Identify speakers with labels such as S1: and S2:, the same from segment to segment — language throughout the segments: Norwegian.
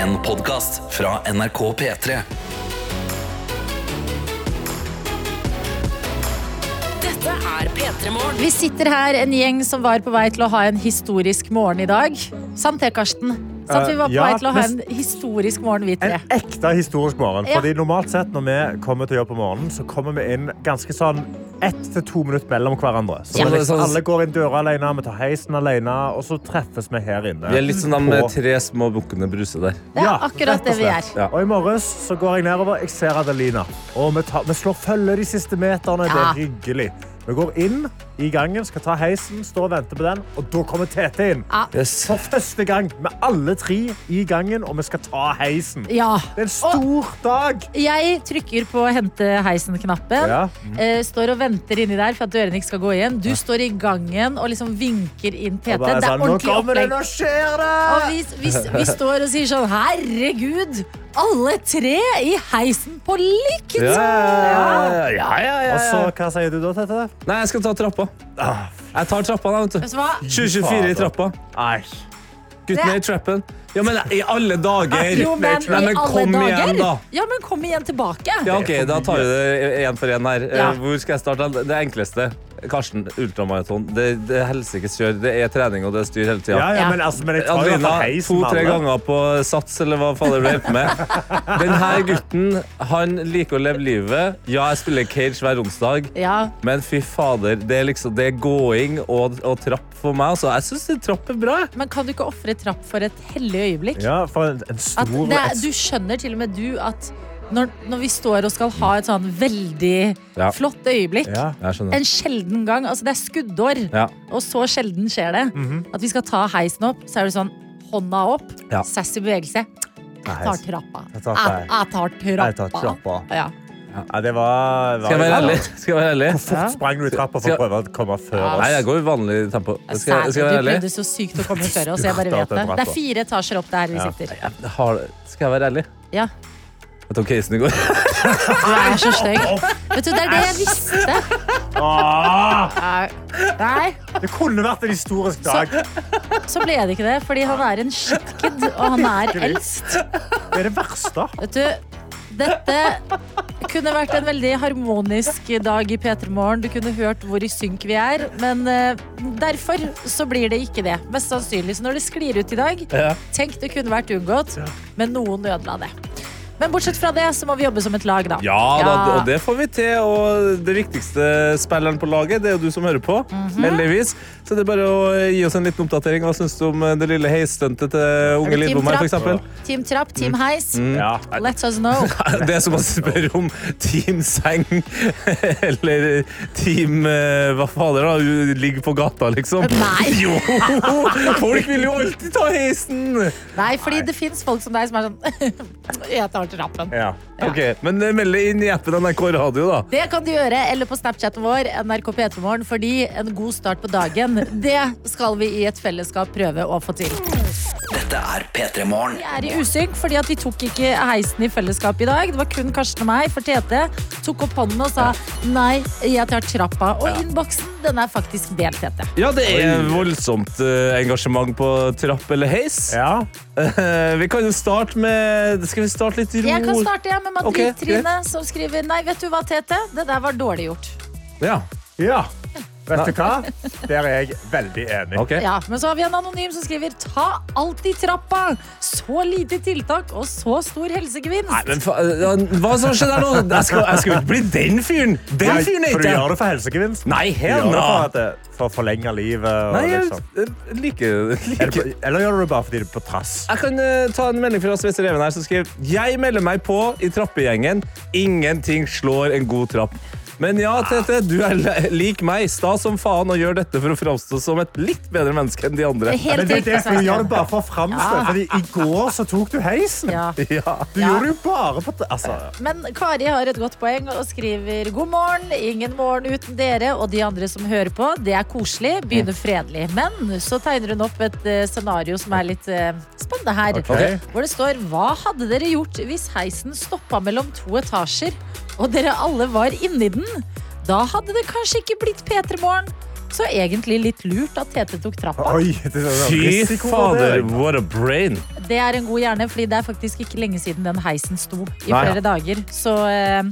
S1: En podcast fra NRK P3
S2: Dette er P3 Morgen.
S3: Vi sitter her en gjeng som var på vei til å ha en historisk morgen i dag. Sant det, Karsten? Sant, vi var på
S4: Eh, ja,
S3: vei til å ha en
S4: men-
S3: historisk morgen, vi
S4: En
S3: tre.
S4: ekte historisk morgen.
S3: Ja.
S4: Fordi normalt sett når vi kommer til jobb på morgenen, så kommer vi inn ganske sånn ett til to minutter mellom hverandre. Så
S3: Ja.
S4: det er liksom,
S5: Sånn-
S4: alle går inn døra alene, vi tar heisen alene, og så treffes vi her inne.
S5: Vi er litt sånn de
S4: På-
S5: tre små bukkene Bruse der.
S3: Det
S4: Ja,
S3: er akkurat
S4: rett og
S3: det vi
S4: slett.
S3: er.
S5: Ja.
S4: Og i morges så går jeg nedover, jeg ser Adelina. Og vi, tar, vi slår følge de siste meterne. Det
S3: Ja.
S4: er hyggelig. Vi går inn i gangen, skal ta heisen, står og venter på den, og da kommer Tete inn.
S5: Yes.
S4: For første gang med alle tre i gangen, og vi skal ta heisen.
S3: Ja.
S4: Det er en stor dag.
S3: Jeg trykker på hente heisen-knappen.
S4: Ja.
S3: eh, Står og venter inni der for at dørene ikke skal gå igjen. Du står i gangen og liksom vinker inn PT.
S4: Og bare
S3: Det
S4: sånn,
S3: er
S4: nå
S3: ordentlig
S4: kommer det,
S3: opplegg.
S4: nå skjer
S3: Og
S4: det!
S3: vi, vi, vi står og sier sånn Herregud, alle tre i heisen på lykken!
S5: Ja, ja, ja, ja, ja.
S4: Og så, hva sier du da, Tete?
S5: Nei, jeg skal ta trappa.
S4: Ah,
S5: Jeg tar trappa, da, vet
S3: Vet
S5: du.
S3: du hva?
S5: 2024 i trappa.
S4: Nei.
S5: Gutten er i trappen. Ja, men i alle dager!
S3: Eh, Jo, men
S5: Nei,
S3: i
S5: men
S3: alle
S5: kom
S3: dager.
S5: igjen, da.
S3: Ja, men kom igjen tilbake.
S5: Ja, ok, Da tar vi det én for én her. Eh,
S3: Ja.
S5: Hvor skal jeg starte? Det enkleste. Karsten, ultramaraton. Det, det er helsikes kjør. Det er trening og det er styr hele tida.
S4: Ja, ja,
S3: Ja.
S4: men, altså, men jeg tar jo
S5: Adelina
S4: for heisen
S5: to-tre
S4: alle.
S5: ganger på sats, eller hva fader du hjelper med. Denne gutten han liker å leve livet. Ja, jeg spiller cage hver onsdag.
S3: Ja,
S5: Men fy fader, det er liksom Det er gåing og, og trapp for meg. Altså, jeg syns trapp er bra. jeg.
S3: Men kan du ikke ofre trapp for et hellig øyeblikk?
S4: Ja, for en, en
S3: At
S4: stor
S3: det, er- du skjønner til og med du at når, når vi står og skal ha et sånn veldig
S5: Ja.
S3: flott øyeblikk
S4: Ja.
S5: Jeg skjønner.
S3: En sjelden gang. Altså, det er skuddår,
S5: Ja. Mhm.
S3: og så sjelden skjer det. At vi skal ta heisen opp, så er det sånn hånda opp,
S5: Ja.
S3: sassy bevegelse. Jeg tar trappa.
S4: Jeg tar trappa.
S3: Jeg- jeg tar trappa.
S4: Jeg tar trappa.
S3: Ja.
S4: Ja, det var, var
S5: Skal jeg være ærlig? Skal jeg være ærlig?
S4: Hvor fort sprang du i trappa for
S5: Skal-
S4: å prøve å komme før
S3: Ja.
S4: oss?
S5: Nei, jeg går i vanlig tempo. Skal jeg, skal jeg være
S3: du
S5: ærlig?
S3: prøvde så sykt å komme før oss. Jeg bare vet det. Det er fire etasjer opp der vi
S4: Ja.
S3: sitter.
S5: Jeg har, skal jeg være ærlig?
S3: Ja.
S5: Jeg tok casen i går.
S3: Du er så stygg. Vet du, det er det jeg visste.
S4: Åh,
S5: Ah.
S3: Nei.
S4: det kunne vært en historisk dag.
S3: Så ble det ikke det, fordi han er en shitkid, og han er eldst.
S4: Det er det verste.
S3: Vet du, dette kunne vært en veldig harmonisk dag i P3 Morgen. Du kunne hørt hvor i synk vi er, men eh, derfor så blir det ikke det. Mest sannsynlig. Så når det sklir ut i dag,
S5: Ja.
S3: tenk det kunne vært unngått, men noen ødela det. Men bortsett fra det, så må vi jobbe som et lag, da.
S5: Ja, da, og det får vi til. Og det viktigste spilleren på laget, det er jo du som hører på.
S3: Mhm.
S5: Heldigvis. Så det er bare å gi oss en liten oppdatering. Hva syns du om eh, det lille heisstuntet til unge
S3: Team
S5: Lidbom her, for
S3: Trapp.
S5: eksempel?
S3: Team Trapp,
S5: Mm.
S3: Team Heis.
S4: Ja.
S3: Let us know.
S5: Det er som å spørre om Team Seng eller Team eh, Hva fader, da? Hun ligger på gata, liksom.
S3: Nei.
S5: Jo! Folk vil jo alltid ta heisen!
S3: Nei, fordi det fins folk som deg som er sånn Jeg tar trappen.
S4: Ja.
S5: Ok, Men eh, meld det inn i appen NRK Radio, da.
S3: Det kan du gjøre, eller på Snapchaten vår, NRK P3morgen, fordi en god start på dagen, det skal vi i et fellesskap prøve å få til.
S1: Dette er P3 Morgen
S3: Vi er i usynk fordi at vi tok ikke heisen i fellesskap i dag. Det var kun Karsten og meg, for Tete tok opp hånden og sa nei, jeg tar trappa. Og innboksen, den er faktisk delt, Tete.
S5: Ja, det er voldsomt eh, engasjement på trapp eller heis.
S4: ja.
S5: Eh, Vi kan jo starte med Skal vi starte litt ro?
S3: Jeg kan starte jeg med
S5: Ok,
S3: Madrid-Trine, som skriver nei, vet du hva, Tete, det der var dårlig gjort.
S5: Ja,
S4: Ja. Vet du hva? Der er jeg veldig enig.
S5: ok.
S3: Ja, men så har vi en anonym som skriver Ta alltid trappa! Så lite tiltak og så stor helsegevinst.
S5: Nei, men fa ja, hva som skjedde her nå? Jeg skal, jeg skal jo ikke bli den fyren! Den fyren er
S4: For du
S5: ikke
S4: gjør
S5: jeg!
S4: det for helsegevinst.
S5: Nei,
S4: Du
S5: hell
S4: gjør det
S5: no!
S4: for, at det- for å forlenge livet.
S5: Nei,
S4: Og
S5: jeg
S4: liksom.
S5: jeg liker
S4: Er det
S5: liker-
S4: på- Eller gjør du det bare fordi det er på trass?
S5: Jeg kan eh, ta en melding fra Svester Even her som skriver Jeg melder meg på i trappegjengen. Ingenting slår en god trapp. Men ja, Tete, du er le- lik meg, sta som faen, og gjør dette for å framstå som et litt bedre menneske enn de andre.
S3: Det er helt
S4: Men det er
S3: riktig,
S4: derfor du
S3: Sebastian.
S4: gjør det bare for å framstå. Fordi i går så tok du heisen.
S3: Ja.
S5: Ja.
S4: Du gjorde det jo bare på trass. Altså,
S3: Men Kari har et godt poeng og skriver god morgen. Ingen morgen uten dere og de andre som hører på. Det er koselig. Begynner fredelig. Men så tegner hun opp et eh, scenario som er litt eh, spennende her.
S4: Ok.
S3: Hvor det står Hva hadde dere gjort hvis heisen stoppa mellom to etasjer, og dere alle var inni den? Da hadde det kanskje ikke blitt P3morgen. Så egentlig litt lurt at Tete tok trappa.
S4: Oi, det er sånn
S5: Fy
S4: risikovurdering.
S5: fader, what a brain.
S3: Det er en god hjerne, fordi det er faktisk ikke lenge siden den heisen sto i
S5: Nei.
S3: flere dager. Så eh,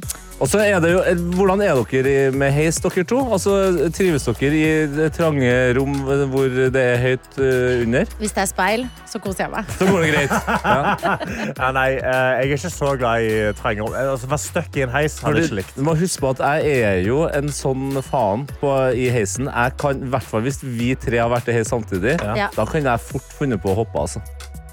S5: Og så er det jo, eh, Hvordan er dere i- med heis, dere to? Altså, Trives dere i det trange rom hvor det er høyt eh, under?
S3: hvis det er speil, så koser jeg meg.
S5: Så går det greit. Ja.
S4: Ja, nei, eh, jeg er ikke så glad i trange rom. Eh, Altså, Være stuck i en heis hadde jeg ikke likt.
S5: Du må huske på at jeg er jo en sånn faen på, i heisen. Jeg kan, i hvert fall Hvis vi tre har vært i heis samtidig,
S3: Ja.
S5: da kan jeg fort funnet på å hoppe. altså.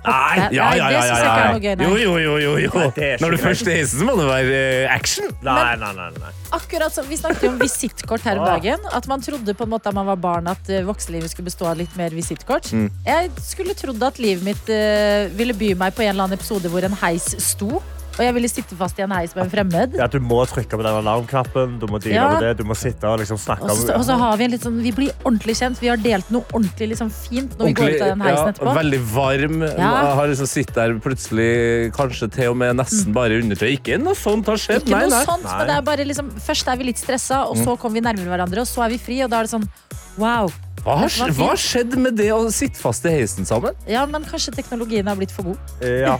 S3: Nei, det synes jeg ikke er noe gøy, nei.
S5: Jo, jo, jo, jo, jo.
S4: det er ikke
S5: Når du
S4: greit.
S5: først er i heisen, så må det være eh, action.
S4: Nei, nei, nei, nei.
S3: Akkurat som Vi snakket jo om visittkort her
S5: Ah.
S3: om dagen. At man trodde på en måte da man var barn at eh, voksenlivet skulle bestå av litt mer visittkort.
S5: Mm.
S3: Jeg skulle trodd at livet mitt eh, ville by meg på en eller annen episode hvor en heis sto. Og jeg ville sitte fast i en heis med en fremmed.
S4: Ja, du må trykke på den alarmknappen, du må deale
S3: Ja.
S4: med det, du må sitte og liksom snakke
S3: Og så, og
S4: om
S3: så har vi en litt sånn Vi blir ordentlig kjent. Vi har delt noe ordentlig liksom, fint når vi går ut av den heisen
S5: ja,
S3: etterpå.
S5: veldig varm.
S3: Ja.
S5: Har liksom sittet der plutselig, kanskje til og med nesten bare i undertøy. Ikke noe sånt har skjedd.
S3: Ikke noe
S5: Nei, nei. Mm.
S3: sånt, men det er bare liksom Først er vi litt stressa, og så kommer vi nærmere hverandre, og så er vi fri, og da er det sånn Wow.
S5: Hva har
S3: Det var
S5: skj- hva har skjedd med det å sitte fast i heisen sammen?
S3: Ja, men kanskje teknologien har blitt for god.
S4: ja.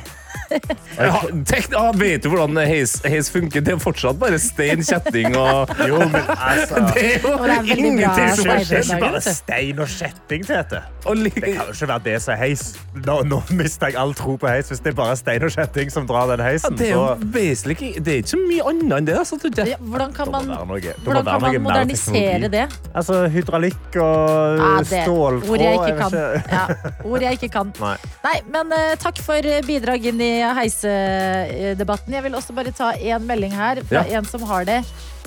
S5: Ja, tenk, ah, vet du hvordan heis, heis funker? Det er fortsatt bare stein, kjetting og
S4: Jo, men altså
S5: Det er jo
S3: Og det er veldig bra
S5: ingenting som
S4: Det
S3: stein.
S5: har
S4: er
S5: skjedd.
S4: ikke bare stein og kjetting, Tete.
S5: Og
S4: Det
S5: like-
S4: kan jo ikke være det som er heis. Nå, nå mister jeg all tro på heis. Hvis det er bare stein og kjetting som drar den
S5: Ja,
S4: heisen,
S5: Det er jo
S4: så
S5: basically ikke Det er ikke så mye annet enn det. Altså, tror
S3: Ja,
S5: jeg.
S3: hvordan kan man,
S4: være noe- det må
S3: hvordan
S4: være
S3: kan man
S4: noe mer
S3: modernisere
S4: teknologi.
S3: det?
S4: Altså hydraulikk og
S3: Ja, det
S4: ståltråd
S3: ord jeg ikke
S4: vet
S3: kan. Ja, ord jeg ikke kan.
S4: Nei.
S3: Nei, men eh, takk for eh, bidrag inn i heisedebatten. Jeg vil også bare ta én melding her fra
S5: Ja.
S3: en som har det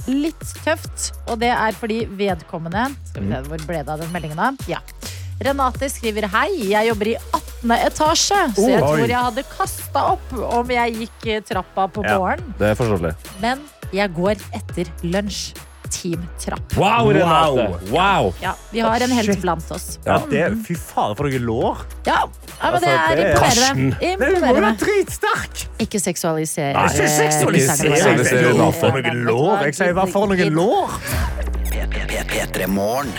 S3: litt tøft. Og det er fordi vedkommende Skal
S4: Mm.
S3: vi se hvor ble det av den meldingen, da? Ja. Renate skriver hei, jeg jobber i 18. etasje, så jeg
S4: Oh, Oi.
S3: tror jeg hadde kasta opp om jeg gikk eh, trappa på
S4: Ja.
S3: morgenen.
S5: Det er forståelig.
S3: Men jeg går etter lunsj. Team Trapp.
S5: Wow, Renate! Wow.
S3: Ja, vi har en helt
S4: Shit.
S3: blant oss.
S4: Ja, det, fy faen, for noen lår!
S3: Ja, ja men det
S4: Altså,
S3: er
S4: det er-
S5: Karsten.
S3: imponerende.
S4: Nei, Hun må jo
S3: imponerende.
S4: være dritsterk!
S3: Ikke seksualisere
S5: Nei,
S4: Ikke seksualisere!
S5: Ikke
S4: Jeg sier
S5: seksualisere
S4: hva
S5: Renate.
S4: for noen lår! Jeg sier hva for noen lår!
S1: P3-morgen.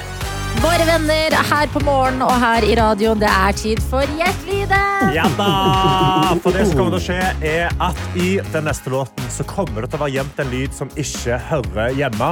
S3: Våre venner her på morgen og her i radioen, det er tid for Gjett lyden!
S4: Ja da! For det som kommer til å skje, er at i den neste låten så kommer det til å være gjemt en lyd som ikke hører hjemme.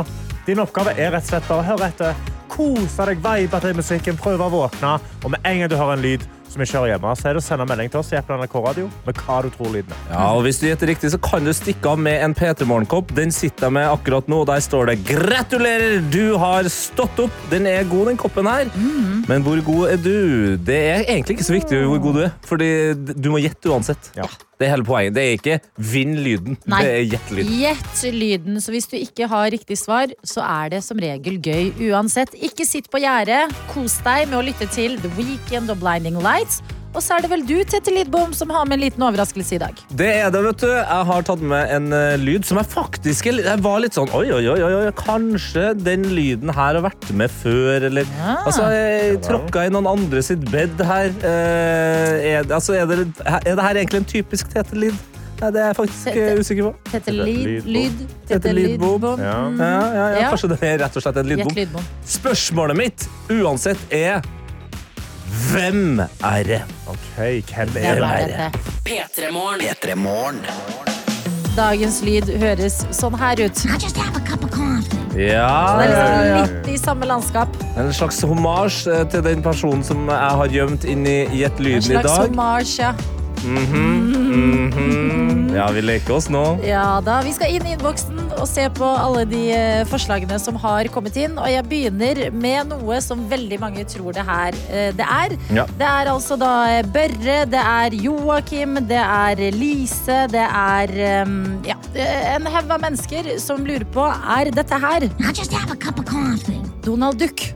S4: Din oppgave er rett og slett bare å høre etter, kose deg, vibe til musikken, prøve å våkne, og med en gang du hører en lyd som ikke hører hjemme, så er det å sende en melding til oss i appen NRK Radio med hva du tror lyden er.
S5: Ja, og Hvis du gjetter riktig, så kan du stikke av med en P3 Morgenkopp. Den sitter jeg med akkurat nå. og Der står det 'Gratulerer, du har stått opp'. Den er god, den koppen her. Men hvor god er du? Det er egentlig ikke så viktig hvor god du er, Fordi du må gjette uansett.
S4: Ja.
S5: Det er hele poenget. Det er ikke 'vinn lyden'.
S3: Nei.
S5: Det er gjett lyden.
S3: Gjett lyden. Så hvis du ikke har riktig svar, så er det som regel gøy uansett. Ikke sitt på gjerdet. Kos deg med å lytte til The Weekend og Blinding Lights. Og så er det vel du, Tette Lidbom, som har med en liten overraskelse i dag.
S5: Det er det, vet du. Jeg har tatt med en eh, lyd som jeg faktisk er li- Jeg var litt sånn Oi, oi, oi, oi, oi, kanskje den lyden her har vært med før, eller Altså, jeg tråkka i noen andre sitt bed her. Eh, er, altså, er, det, er det her egentlig en typisk Tete-lyd? Nei, det er jeg faktisk eh, usikker på.
S3: Tette Lid...
S4: Lidbom.
S3: Lyd.
S5: Tete Lidbom.
S4: Ja.
S5: Ja, ja, Mm. ja,
S3: Ja.
S5: Kanskje det er rett og slett en
S3: Gjett
S5: lydbom.
S3: lydbom.
S5: Spørsmålet mitt uansett er Hvem er det?
S4: OK, hvem
S3: Det
S4: er det?
S3: var
S5: er det?
S3: dette.
S2: P3-morgen.
S1: P3-morgen.
S3: Dagens lyd høres sånn her ut. Det
S5: Ja,
S3: er
S5: ja,
S3: liksom
S5: ja.
S3: litt i samme landskap.
S5: En slags hommage eh, til den personen som jeg har gjemt inn i Gjett
S3: En
S5: lyden i
S3: slags
S5: dag.
S3: hommage. ja.
S5: Ja, vi leker oss nå.
S3: Ja da, Vi skal inn i innboksen og se på alle de eh, forslagene som har kommet inn. Og jeg begynner med noe som veldig mange tror det her eh, det er.
S5: Ja.
S3: Det er altså da eh, Børre, det er Joakim, det er Lise, det er eh, ja, eh, en haug av mennesker som lurer på er dette her Donald Duck.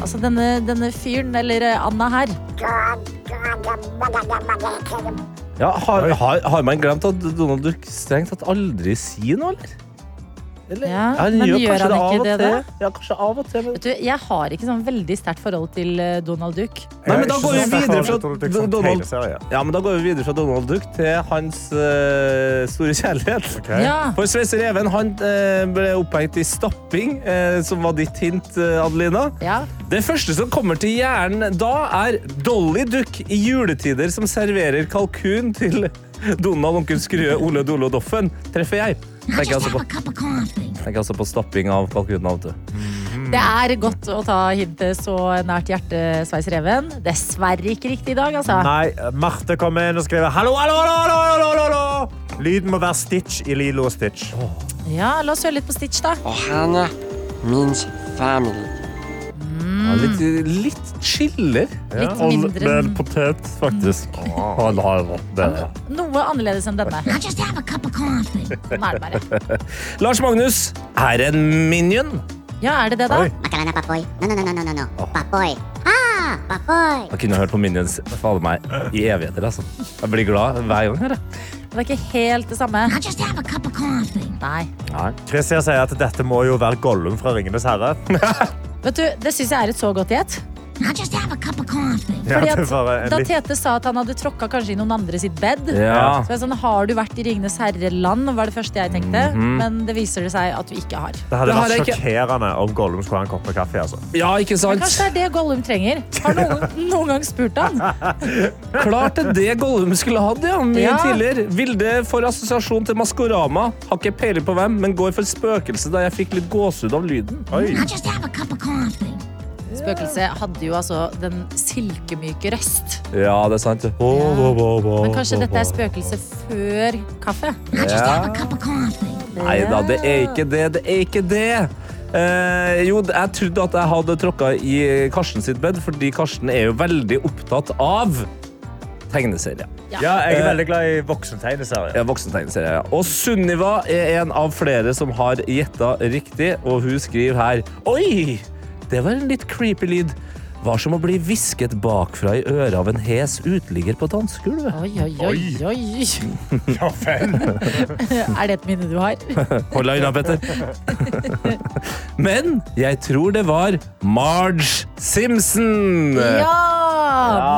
S3: Altså denne, denne fyren, eller eh, Anna her.
S5: Ja, har, har, har man glemt at Donald Duck strengt tatt aldri sier noe, eller? Eller,
S3: Ja,
S5: han
S3: men
S5: gjør
S3: gjør
S5: kanskje
S3: han
S5: det av
S3: ikke
S5: og
S3: det
S5: til.
S3: da?
S5: Ja, kanskje av og til. Men...
S3: Vet du, jeg har ikke sånn veldig sterkt forhold til eh, Donald Duck.
S5: Nei, men da går vi videre fra
S4: liksom sånn
S5: Donald
S4: Donald.
S5: Ja, men da går vi videre fra Donald Duck til hans eh, store kjærlighet.
S3: Ja.
S5: For Sveiser Even han eh, ble opphengt i stapping, eh, som var ditt hint, eh, Adelina.
S3: Ja.
S5: Det første som kommer til hjernen da, er Dolly Duck i juletider som serverer kalkun til Donald, onkel Skrue, Ole Dole og Doffen. Treffer jeg. Tenker altså på, tenker altså på stapping av kalkunen. av og til.
S3: Det er godt å ta hintet så nært hjertet, Sveis Reven. Dessverre ikke riktig i dag, altså.
S4: Nei, Marte kommer inn og skriver Hallo, hallo, hallo, hallo, hallo, hallo, hallo! Lyden må være Stitch i Lilo og Stitch.
S3: Ja, La oss høre litt på Stitch, da.
S6: Ohana means family.
S3: Mm.
S5: Ja, litt, litt chiller.
S3: Litt mindre enn
S4: potet, faktisk.
S3: Noe annerledes enn denne. Sånn er det bare.
S5: Lars Magnus er en minion.
S3: Ja, er det det, da?
S4: Oi.
S7: Macarena Papoy. No, no, no, no, no, no, no. Papoy. Ah, Papoy.
S5: Jeg kunne hørt på minions fader meg, i evigheter. altså. Jeg blir glad hver gang. her, jeg.
S3: Det er ikke helt det samme.
S7: I just have a cup of coffee.
S3: Nei.
S4: Christian sier at dette må jo være Gollum fra Ringenes herre.
S3: Vet du, Det syns jeg er et så godt gjett.
S7: I just have a cup of coffee.
S4: Ja,
S3: Fordi
S4: det var
S3: at
S4: en
S3: Da
S4: litt-
S3: Tete sa at han hadde tråkka kanskje i noen andre sitt bed,
S5: Ja.
S3: Så jeg er sånn, har du vært i Ringenes herre-land, var det første jeg tenkte.
S4: Mhm.
S3: Men det viser det seg at du ikke har.
S4: Det hadde
S5: Det har jeg
S4: vært
S5: ikke.
S4: sjokkerende om Gollum skulle ha en kopp med kaffe. Altså.
S5: Ja, ikke sant?
S3: Kanskje det er det Gollum trenger. Har noen, noen gang spurt han?
S5: Klart det er det Gollum skulle hatt, ja. Mye
S3: Ja.
S5: tidligere. Vilde får assosiasjon til Maskorama. Har ikke peiling på hvem, men går for spøkelse da jeg fikk litt gåsehud av lyden.
S4: Oi.
S7: I just have a cup of coffee.
S3: Spøkelse hadde jo altså den silkemyke røst.
S5: Ja, det er sant.
S3: Men kanskje dette er spøkelse før kaffe?
S7: I just
S5: Ja.
S7: have a cup of coffee.
S5: Nei da, det er ikke det. Det er ikke det. Eh, jo, jeg trodde at jeg hadde tråkka i Karsten sitt bed, fordi Karsten er jo veldig opptatt av Eh, tegneserier.
S4: Ja, jeg er veldig glad i voksentegneserier.
S5: Ja, voksentegneserie, ja. Og Sunniva er en av flere som har gjetta riktig, og hun skriver her Oi! Det var en litt creepy lyd. Var som å bli hvisket bakfra i øret av en hes uteligger på dansegulvet.
S3: Oi, oi, oi, oi.
S4: Ja, vel.
S3: Er det et minne du har?
S5: Hold deg unna, Petter. Men jeg tror det var Marge Simpson.
S3: Ja!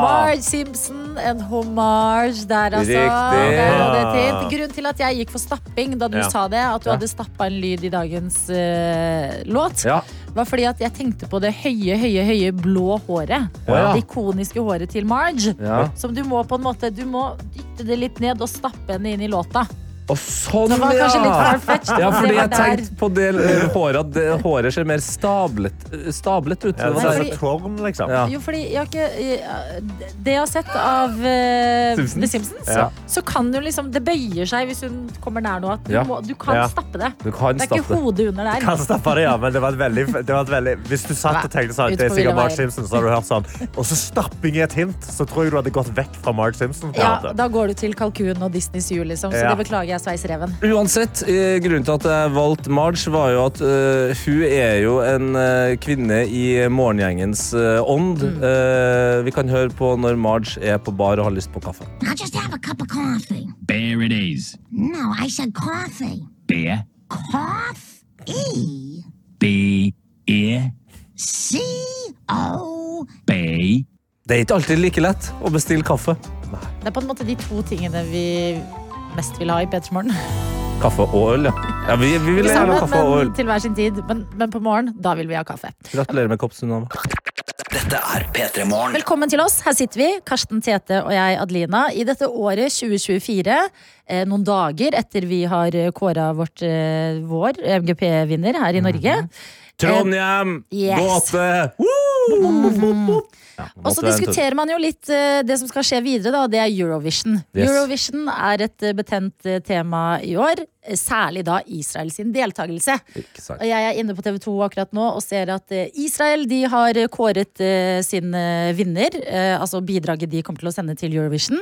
S3: Marge Simpson, en hommage der, altså.
S5: Riktig.
S3: Det er jo det til. Grunnen til at jeg gikk for stapping da du
S4: Ja.
S3: sa det, at du hadde stappa en lyd i dagens eh, låt,
S5: Ja.
S3: var fordi at jeg tenkte på det høye, høye, høye blå håret.
S5: Ja.
S3: Det ikoniske håret til Marge.
S5: Ja.
S3: Som du må på en måte Du må dytte det litt ned og stappe henne inn i låta.
S5: Og sånn,
S3: Det var
S5: ja!
S3: kanskje litt farfetched,
S5: Ja,
S3: men
S5: fordi
S3: det var
S5: jeg
S3: der.
S5: tenkte på det eh, håret at det håret ser mer stablet, eh, stablet
S4: Ja,
S5: ut. Det
S4: det
S5: var sånn
S4: er
S5: der.
S4: så tårn, liksom.
S5: Ja.
S3: Jo, fordi jeg har ikke eh, Det jeg har sett av eh,
S5: Simpsons?
S3: The Simpsons,
S4: Ja.
S3: så kan du liksom Det bøyer seg hvis hun kommer nær noe. At du,
S5: Ja.
S3: må, du kan
S4: Ja.
S3: stappe det.
S5: Du kan
S3: Det er ikke
S5: stappe.
S3: hodet under der.
S4: Kan stappe det, ja, men det var et veldig, det var et veldig Hvis du satt og tenkte sånn,
S3: Ut
S4: det er
S3: på ville
S4: sikkert Marge
S3: veier.
S4: Simpson, så hadde du hørt sånn. Og så stapping i et hint, så tror jeg du hadde gått vekk fra Marge Simpson. på en
S3: Ja,
S4: måte.
S3: da går du til kalkunen og Disneys jul, liksom. Så
S4: Ja.
S3: det beklager jeg, Sveis Reven.
S5: Uansett, eh, grunnen til at jeg valgte Marge, var jo at eh, hun er jo en eh, kvinne i morgengjengens eh, ånd.
S3: Mm.
S5: Eh, vi kan høre på når Marge er på bar og har lyst på kaffe.
S7: I just have a cup of coffee.
S8: There it is.
S7: No, I said coffee.
S8: Beer.
S7: Cough. E.
S8: B. Ear.
S7: C. O.
S8: B.
S5: Det er ikke alltid like lett å bestille kaffe.
S3: Det er på en måte de to tingene vi mest vil ha i P3 Morgen.
S5: Kaffe og øl, ja. ja vi, vi vil
S3: Ikke
S5: gjerne
S3: sammen,
S5: ha kaffe og
S3: men
S5: øl.
S3: til hver sin tid. Men, men på morgen, da vil vi ha kaffe.
S5: Gratulerer med kopp,
S3: Eh,
S5: Sunnava.
S1: Dette er P3 Morgen.
S3: Velkommen til oss. Her sitter vi, Karsten Tete og jeg, Adelina. I dette året 2024, eh, noen dager etter vi har kåra vårt eh, vår MGP-vinner her i Norge.
S5: Trondheim!
S3: Yes.
S5: Gåte!
S3: Og så diskuterer man jo litt eh, det som skal skje videre, da. og Det er Eurovision.
S5: Yes.
S3: Eurovision er et eh, betent eh, tema i år. eh, Særlig da Israel sin deltakelse. Og jeg er inne på TV 2 akkurat nå og ser at eh, Israel de har eh, kåret eh, sin eh, vinner. eh, Altså bidraget de kommer til å sende til Eurovision.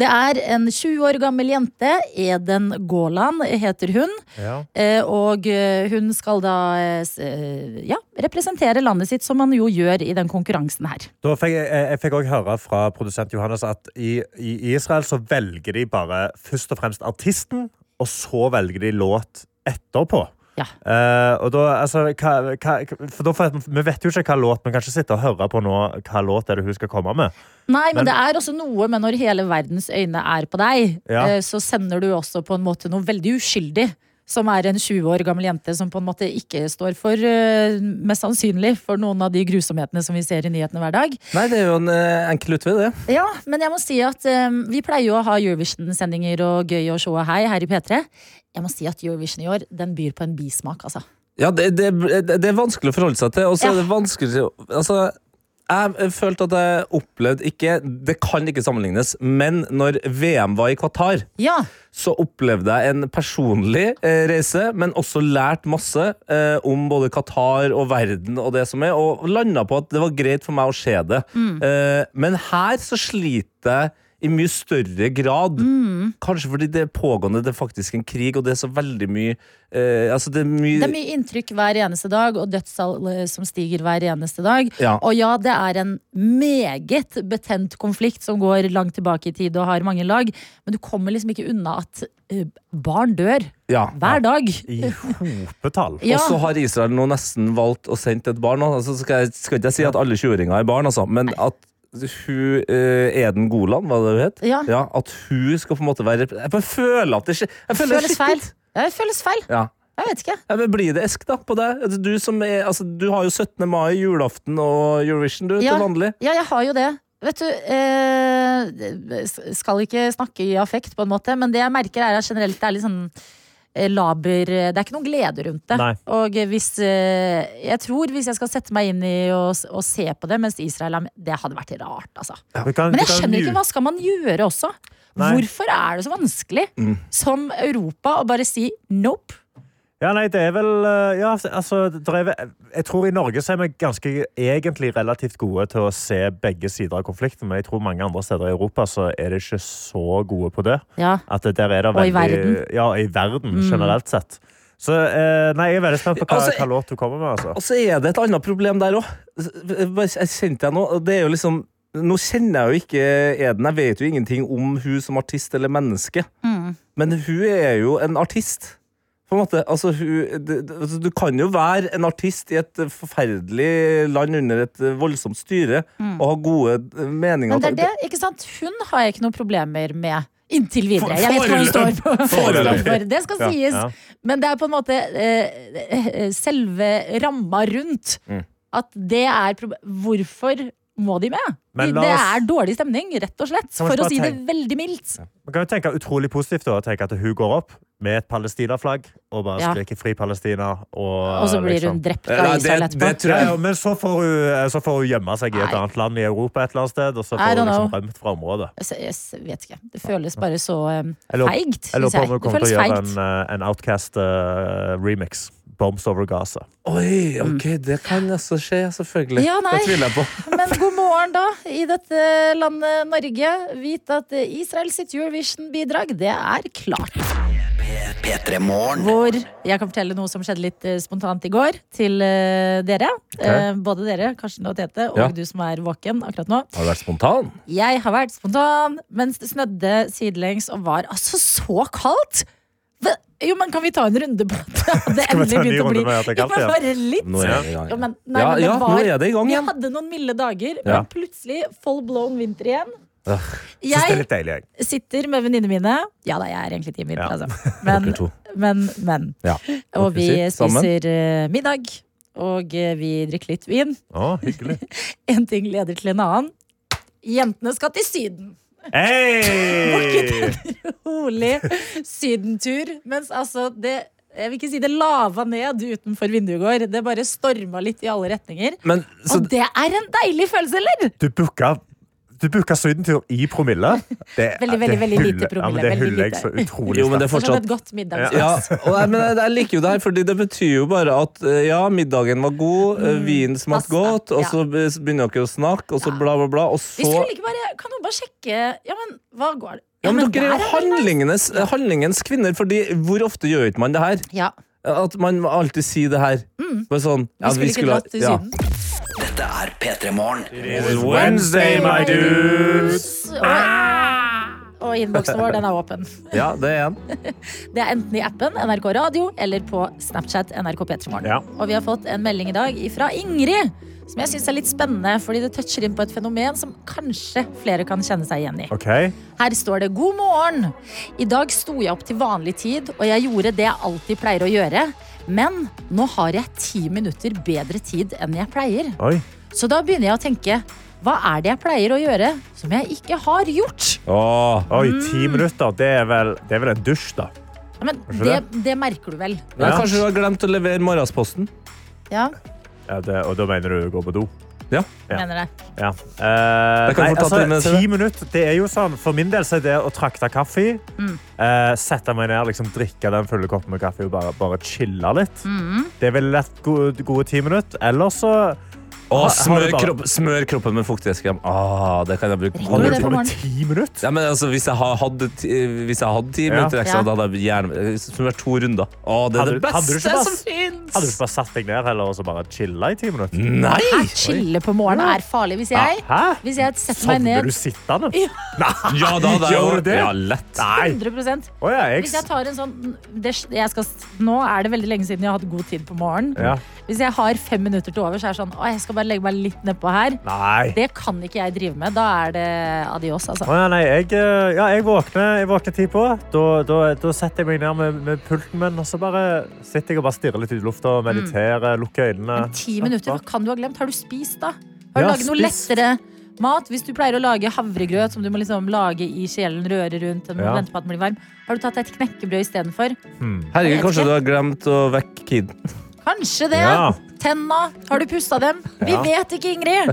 S3: Det er en 20 år gammel jente. Eden Gaaland heter hun.
S4: Ja.
S3: eh, Og eh, hun skal da eh, s- eh, ja, representere landet sitt, som man jo gjør i den konkurransen her.
S4: Da fikk jeg, jeg jeg fikk også høre fra produsent Johannes at i, i Israel så velger de bare først og fremst artisten, og så velger de låt etterpå.
S3: Ja.
S4: Eh, og da, altså, hva, hva, for da får, vi vet jo ikke hva låt vi kan ikke sitte og høre på nå hva låt er det hun skal komme med.
S3: Nei, men,
S4: Men-
S3: det er også noe med når hele verdens øyne er på deg,
S4: Ja.
S3: eh, så sender du også på en måte noe veldig uskyldig. Som er en 20 år gammel jente som på en måte ikke står for, eh, mest sannsynlig, for noen av de grusomhetene som vi ser i nyhetene hver dag.
S5: Nei, det er jo en eh, enkel utvei, det.
S3: Ja, men jeg må si at eh, vi pleier jo å ha Eurovision-sendinger og gøy og show og hei her i P3. Jeg må si at Eurovision i år, den byr på en bismak, altså.
S5: Ja, det, det, det det er vanskelig å forholde seg til. Og så
S3: Ja.
S5: er det vanskelig å- altså, Jeg følte at jeg opplevde ikke Det kan ikke sammenlignes, men når VM var i Qatar,
S3: Ja,
S5: så opplevde jeg en personlig eh, reise, men også lært masse eh, om både Qatar og verden og det som er, og landa på at det var greit for meg å se det.
S3: Mm.
S5: Eh, men her så sliter jeg i mye større grad.
S3: Mm.
S5: Kanskje fordi det er pågående, det er faktisk en krig, og det er så veldig mye eh, Altså, det er mye,
S3: Det er mye inntrykk hver eneste dag, og dødstall eh, som stiger hver eneste dag.
S5: Ja.
S3: Og ja, det er en meget betent konflikt som går langt tilbake i tid og har mange lag, men du kommer liksom ikke unna at eh, barn dør
S5: ja.
S3: hver dag.
S4: I hopetall.
S3: Ja.
S5: Og så har Israel nå nesten valgt å sende et barn. Altså, skal, jeg, skal ikke jeg si at alle 20-åringer er barn, altså, men at hun eh, Eden Golan, var det hun het?
S3: Ja.
S5: at hun skal på en måte være rep- Jeg bare føler at det skjer. Jeg føler det
S3: Føles
S5: skittent.
S3: feil. Ja, Det føles feil.
S5: Ja.
S3: Jeg vet ikke.
S5: Ja, men blir det esk, da, på deg? Altså, Du, som er, altså, du har jo 17. mai, julaften og Eurovision, du,
S3: Ja.
S5: til vanlig.
S3: Ja, jeg har jo det. Vet du, eh, skal ikke snakke i affekt på en måte, men det jeg merker er at generelt det er litt sånn eh, laber Det er ikke noen glede rundt det.
S4: Nei.
S3: Og hvis eh, Jeg tror hvis jeg skal sette meg inn i og, s- og se på det mens Israel er med Det hadde vært rart, altså.
S4: Du kan-
S3: Men
S4: du
S3: jeg
S4: kan
S3: skjønner ikke
S4: mute-
S3: hva skal man gjøre også.
S4: Nei. Mm.
S3: Hvorfor er det så vanskelig som Europa å bare si nope?
S4: Ja, nei, det er vel eh, Ja, altså det er, vel- Jeg tror i Norge så er vi ganske egentlig relativt gode til å se begge sider av konflikten, men jeg tror mange andre steder i Europa så er de ikke så gode på det.
S3: Ja.
S4: At det der er det
S3: Og i
S4: veldig,
S3: verden. Mm.
S4: Ja, i verden generelt sett. Så eh, nei, jeg er veldig spent på hva,
S5: Altså,
S4: hva låt du kommer med, altså.
S5: Og så er det et annet problem der òg. Jeg kjente jeg nå, og det er jo liksom nå kjenner jeg jo ikke Eden. Jeg vet jo ingenting om hun som artist eller menneske.
S3: Mm.
S5: Men hun er jo en artist. På en måte, altså, hun, det, det- altså, du kan jo være en artist i et forferdelig land under et eh, voldsomt styre og ha gode eh, meninger.
S3: Mm. Men det er det, ikke sant? Hun har jeg ikke noen problemer med. Inntil videre. Jeg vet hva hun står på.
S5: Foreløpig.
S3: for. Det skal
S4: Ja,
S3: sies.
S4: ja.
S3: Men det er på en måte eh, eh, selve ramma rundt.
S4: Mm.
S3: At det er proble- Hvorfor må de med?
S4: Men la
S3: det
S4: oss-
S3: er dårlig stemning, rett og slett.
S4: Kan
S3: For
S4: vi
S3: å
S4: bare
S3: si det
S4: tenke-
S3: veldig mildt.
S4: Man kan jo tenke utrolig positivt da, og tenke at hun går opp med et Palestina-flagg og bare
S3: Ja.
S4: skriker 'Fri Palestina'.
S3: Og
S4: Og,
S3: så blir hun
S4: liksom-
S3: drept
S5: Nei,
S3: av
S5: det-
S3: Israel
S5: det
S3: etterpå.
S5: tror
S4: Ja,
S5: jeg
S4: ja, men så får, hun, eh, så får hun gjemme seg i et
S3: Nei.
S4: annet land i Europa et eller annet sted, og så
S3: I
S4: får hun
S3: don't
S4: liksom
S3: know.
S4: rømt fra området.
S3: Jeg s- Jeg s- vet ikke. Det føles bare så um,
S4: Jeg lurer-
S3: feigt.
S4: Jeg lurer
S3: synes
S4: på om hun
S3: Det
S4: kommer til
S3: føles
S4: å gjøre
S3: feigt.
S4: en, eh, en Outcast-remix. Bombs over Gaza.
S5: Oi, ok, det kan altså skje, selvfølgelig.
S3: Ja, nei.
S5: Det tviler jeg på.
S3: Men god morgen, da, i dette landet Norge. Vit at Israel sitt Eurovision-bidrag, det er klart.
S1: P3 Morgen.
S3: Hvor jeg kan fortelle noe som skjedde litt eh, spontant i går, til eh, dere. Eh, både dere, Karsten og Tete, og
S5: Ja.
S3: du som er våken akkurat nå.
S5: Har du vært spontan?
S3: Jeg har vært spontan mens det snødde sidelengs og var altså så kaldt! Hva- Jo, men kan vi ta en runde på at det
S4: vi ta
S3: endelig
S4: en ny
S3: begynte å
S4: runde
S3: bli
S4: med at det er
S3: Ja,
S4: kaldt
S3: men
S4: igjen?
S3: bare litt.
S5: Nå er det i gang.
S3: Jo, men, nei,
S5: Ja,
S3: men det
S5: ja
S3: var,
S5: nå er det i gang
S3: vi
S5: igjen.
S3: hadde noen milde dager,
S5: Ja.
S3: men plutselig full blown vinter igjen.
S4: Synes det er
S3: Jeg
S4: litt deilig, jeg.
S3: sitter med venninnene mine. Ja da, jeg er egentlig team vinter,
S4: Ja.
S3: altså. Men,
S5: Dere to.
S3: men, men.
S5: Ja.
S3: Og vi
S5: Dere sitter sammen.
S3: spiser eh, middag, og eh, vi drikker litt vin.
S4: Å, hyggelig.
S3: En ting leder til en annen. Jentene skal til Syden.
S4: Hei!
S3: Rolig sydentur. Mens altså, det Jeg vil ikke si det lava ned utenfor vinduet i går. Det bare storma litt i alle retninger.
S5: Men, så,
S3: Og det er en deilig følelse, eller?
S4: Du booka du booka sydentur i promille. Det,
S3: Veldig, veldig,
S4: det
S3: veldig lite
S4: hyller- Ja, men
S3: promille,
S4: det
S3: veldig
S4: hyller jeg
S3: lite.
S4: så utrolig
S5: jo, men det
S3: Det er Som
S4: sterkt.
S5: er fortsatt
S3: et godt middagsmål.
S5: Ja, og jeg, men jeg, jeg liker jo det her, fordi det betyr jo bare at eh, ja, middagen var god, eh, vinen smakte
S3: Mm. pasta,
S5: godt, og
S3: ja.
S5: så be- så begynner dere å snakke, og så bla, bla, bla, og
S3: Vi
S5: så
S3: skulle ikke bare, Kan noen bare sjekke Ja, men hva går det?
S5: ja, men
S3: der
S5: Dere er
S3: det
S5: jo
S3: vel-
S5: handlingenes, eh, handlingens kvinner, fordi hvor ofte gjør ikke man det her?
S3: Ja,
S5: At man alltid sier det her. Bare sånn
S3: Mm. vi
S5: ja,
S3: skulle ikke
S5: ha-
S3: dratt til
S5: ja.
S3: Syden.
S1: Dette er P3 Morgen.
S4: Wednesday, my dudes!
S3: Og, og innboksen vår den er åpen.
S5: Ja, det er en.
S3: Det er enten i appen NRK Radio eller på Snapchat NRK Petremorgen.
S4: Ja.
S3: Og vi har fått en melding i dag fra Ingrid, som jeg syns er litt spennende, fordi det toucher inn på et fenomen som kanskje flere kan kjenne seg igjen i.
S4: OK.
S3: Her står det 'God morgen'. I dag sto jeg opp til vanlig tid, og jeg gjorde det jeg alltid pleier å gjøre. Men nå har jeg ti minutter bedre tid enn jeg pleier.
S4: Oi.
S3: Så da begynner jeg å tenke hva er det jeg pleier å gjøre som jeg ikke har gjort?
S5: Åh.
S4: Oi, ti
S3: Mm.
S4: minutter. Det er vel, det er vel en dusj, da.
S3: Ja, Men
S4: Kanskje
S3: det, det merker du vel?
S5: Nei,
S4: Ja.
S5: kanskje du har glemt å levere morgensposten?
S3: Ja,
S4: Ja, det, og da mener du å gå på do?
S5: Ja.
S4: Ja.
S3: mener det.
S4: Ja. Eh,
S5: Det kan
S4: nei,
S5: vi få ta
S4: altså,
S5: til med
S4: ti minutter, det er jo sånn, For min del så er det å trakte kaffe,
S3: Mm.
S4: eh, sette meg ned, liksom, drikke den fulle koppen med kaffe og bare, bare chille litt.
S3: Mm.
S4: Det ville vært gode, gode ti minutter. Eller så
S5: Åh,
S4: Har- har
S5: smør,
S4: du bare-
S5: kropp, smør kroppen med fuktighetskrem. Åh, det kan jeg
S3: Har du
S5: bruke.
S3: det på
S4: Bare
S3: morgenen?
S4: ti minutter?
S5: Ja, men altså, hvis jeg har hatt ti, hvis jeg hadde ti
S4: Ja.
S5: minutter ekstra,
S3: Ja.
S5: da hadde jeg gjerne smurt to runder. Åh, det er
S4: Hadde
S5: det
S4: du- hadde du ikke
S5: beste
S4: bare-
S5: som fins!
S4: Hadde du ikke bare satt deg ned heller, og så bare chilla i ti minutter?
S5: Nei!
S3: Chille på morgenen er farlig. Hvis jeg,
S4: Hæ?
S3: hvis jeg setter meg
S4: Sovner
S3: ned
S4: du sittende?
S5: Ja, da, da,
S4: Gjør du det?
S5: Ja, lett.
S4: Nei.
S3: 100
S4: Å ja, jeg
S3: Hvis jeg tar en sånn det, jeg skal, Nå er det veldig lenge siden jeg har hatt god tid på morgenen.
S4: Ja.
S3: Hvis jeg har fem minutter til over, så er det sånn Å, jeg skal bare legge meg litt nedpå her.
S4: Nei.
S3: Det kan ikke jeg drive med. Da er det adios, altså.
S4: Å ja, nei, jeg, eh, ja, jeg våkner, jeg våkner tid på. Da, da, da setter jeg meg ned med, med pulten min, og så bare sitter jeg og bare stirrer litt ut i lufta og mediterer, lukker øynene.
S3: Mm. Ti minutter, hva kan du ha glemt? Har du spist, da? Har du
S4: Ja,
S3: laget noe
S4: spist.
S3: lettere mat? Hvis du pleier å lage havregrøt som du må liksom lage i kjelen, røre rundt, og
S4: Ja.
S3: vente på at den blir varm, har du tatt deg et knekkebrød istedenfor?
S5: Herregud, kanskje du har glemt å vekke kiden.
S3: Kanskje det.
S4: Ja.
S3: Tenna, har du pusta dem? Vi
S4: Ja.
S3: vet ikke, Ingrid.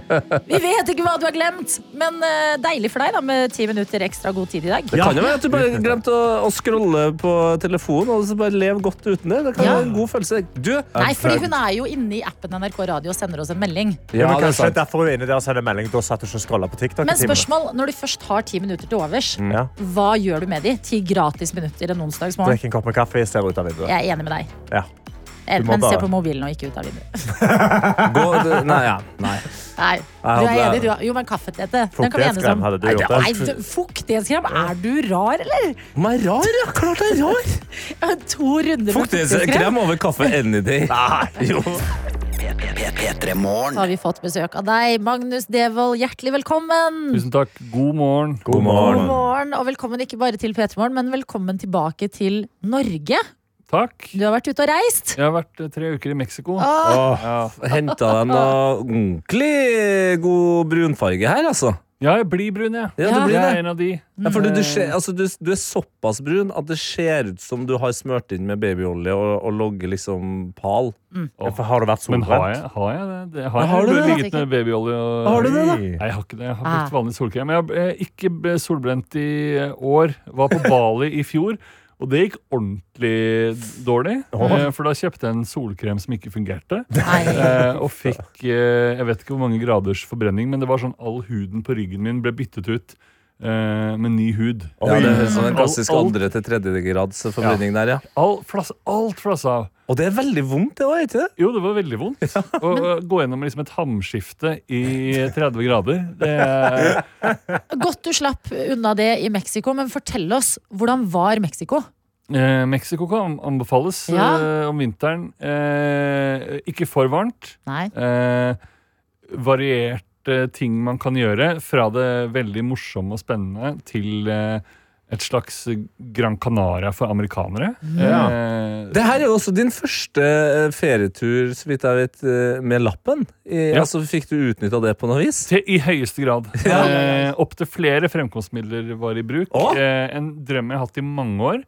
S3: Vi vet ikke hva du har glemt. Men eh, deilig for deg da, med ti minutter ekstra god tid i dag.
S5: Det
S4: Ja.
S5: kan jo være at du bare glemte å, å scrolle på telefonen og så bare leve godt uten det. Det kan
S3: Ja.
S5: være en god følelse. Du!
S3: Nei, fordi hun er jo inne i appen NRK Radio og sender oss en melding.
S4: Ja, men
S5: det er
S4: kanskje
S5: sant.
S4: derfor hun er inne der og sender melding. Da satt hun ikke og scrolla på TikTok. i
S3: Men
S4: timen. Mm.
S3: spørsmål, når du først har ti minutter til overs,
S4: Ja.
S3: hva gjør du med de? Ti gratis minutter en onsdagsmorgen?
S4: Drikk en kopp med kaffe, ser ut av vinduet.
S3: Jeg er enig med deg.
S4: Ja.
S3: Eh,
S4: Du må
S3: Men se
S4: bare-
S3: på mobilen og ikke ut av vinduet.
S5: Gå, det, nei, ja. nei.
S3: Nei, du
S5: Jeg
S3: er
S5: hadde-
S3: enig, du. er- Jo, men kaffetete. Den kan vi enes
S4: Fuktighetskrem
S3: om.
S4: hadde du
S3: Nei,
S4: gjort, da.
S3: Nei, du- fuktighetskrem? Er du rar, eller?
S5: Men jeg er rar, ja. Klart jeg er rar.
S3: To runder med fuktighetskrem.
S5: Fuktighetskrem over kaffe any day. Nei, jo.
S3: Så har vi fått besøk av deg, Magnus Devold. Hjertelig velkommen.
S9: Tusen takk. God morgen.
S5: God
S3: God
S5: morgen.
S3: morgen, og velkommen ikke bare til P3morgen, men velkommen tilbake til Norge.
S9: Takk.
S3: Du har vært ute og reist.
S9: Jeg har vært eh, tre uker i Mexico.
S5: Ah.
S4: Åh,
S9: Ja.
S5: Henta deg noe ordentlig god brunfarge her, altså.
S9: Ja, jeg blir brun, jeg.
S5: Ja,
S3: Ja.
S5: du blir
S9: Jeg er
S5: det.
S9: en av de.
S5: Ja, for du, du, ser, altså, du, du er såpass brun at det ser ut som du har smørt inn med babyolje og, og logger liksom pal.
S4: for har du vært
S9: Men har
S4: solbrent?
S9: jeg, har jeg det? det har
S5: Ja,
S9: jeg
S5: har du
S9: bare
S5: det?
S9: ligget med babyolje og
S5: Har du det, da?
S9: Nei, jeg har ikke det. Jeg har
S3: Ah.
S9: brukt vanlig solkrem. Men jeg har eh, ikke ble solbrent i eh, år. Var på Bali i fjor. Og det gikk ordentlig dårlig, eh, for da kjøpte jeg en solkrem som ikke fungerte.
S3: Nei.
S9: Eh, og fikk eh, jeg vet ikke hvor mange graders forbrenning, men det var sånn all huden på ryggen min ble byttet ut eh, med ny hud.
S5: Ja, det
S9: Mm.
S5: er sånn en klassisk
S9: Alt- alt-
S5: andre til tredje grads forbrenning der, ja.
S9: All, flass, alt flassa av.
S5: Og det er veldig vondt, det òg, ikke det?
S9: Jo, det var veldig vondt å å gå gjennom liksom et hamskifte i 30 grader. Det,
S3: Godt du slapp unna det i Mexico, men fortell oss, hvordan var Mexico?
S9: eh, Mexico kan anbefales
S3: Ja.
S9: eh, om vinteren. Eh, ikke for varmt.
S3: Nei.
S9: Eh, varierte ting man kan gjøre, fra det veldig morsomme og spennende til eh, et slags Gran Canaria for amerikanere.
S4: Ja.
S9: Eh,
S5: Det her er jo også din første eh, ferietur, så vidt jeg vet, eh, med lappen. I,
S9: Ja.
S5: Altså, Fikk du utnytta det på noe vis?
S9: Til, I høyeste grad.
S5: Ja.
S9: Eh, Opptil flere fremkomstmidler var i bruk.
S5: Å!
S9: Eh, en drøm jeg har hatt i mange år.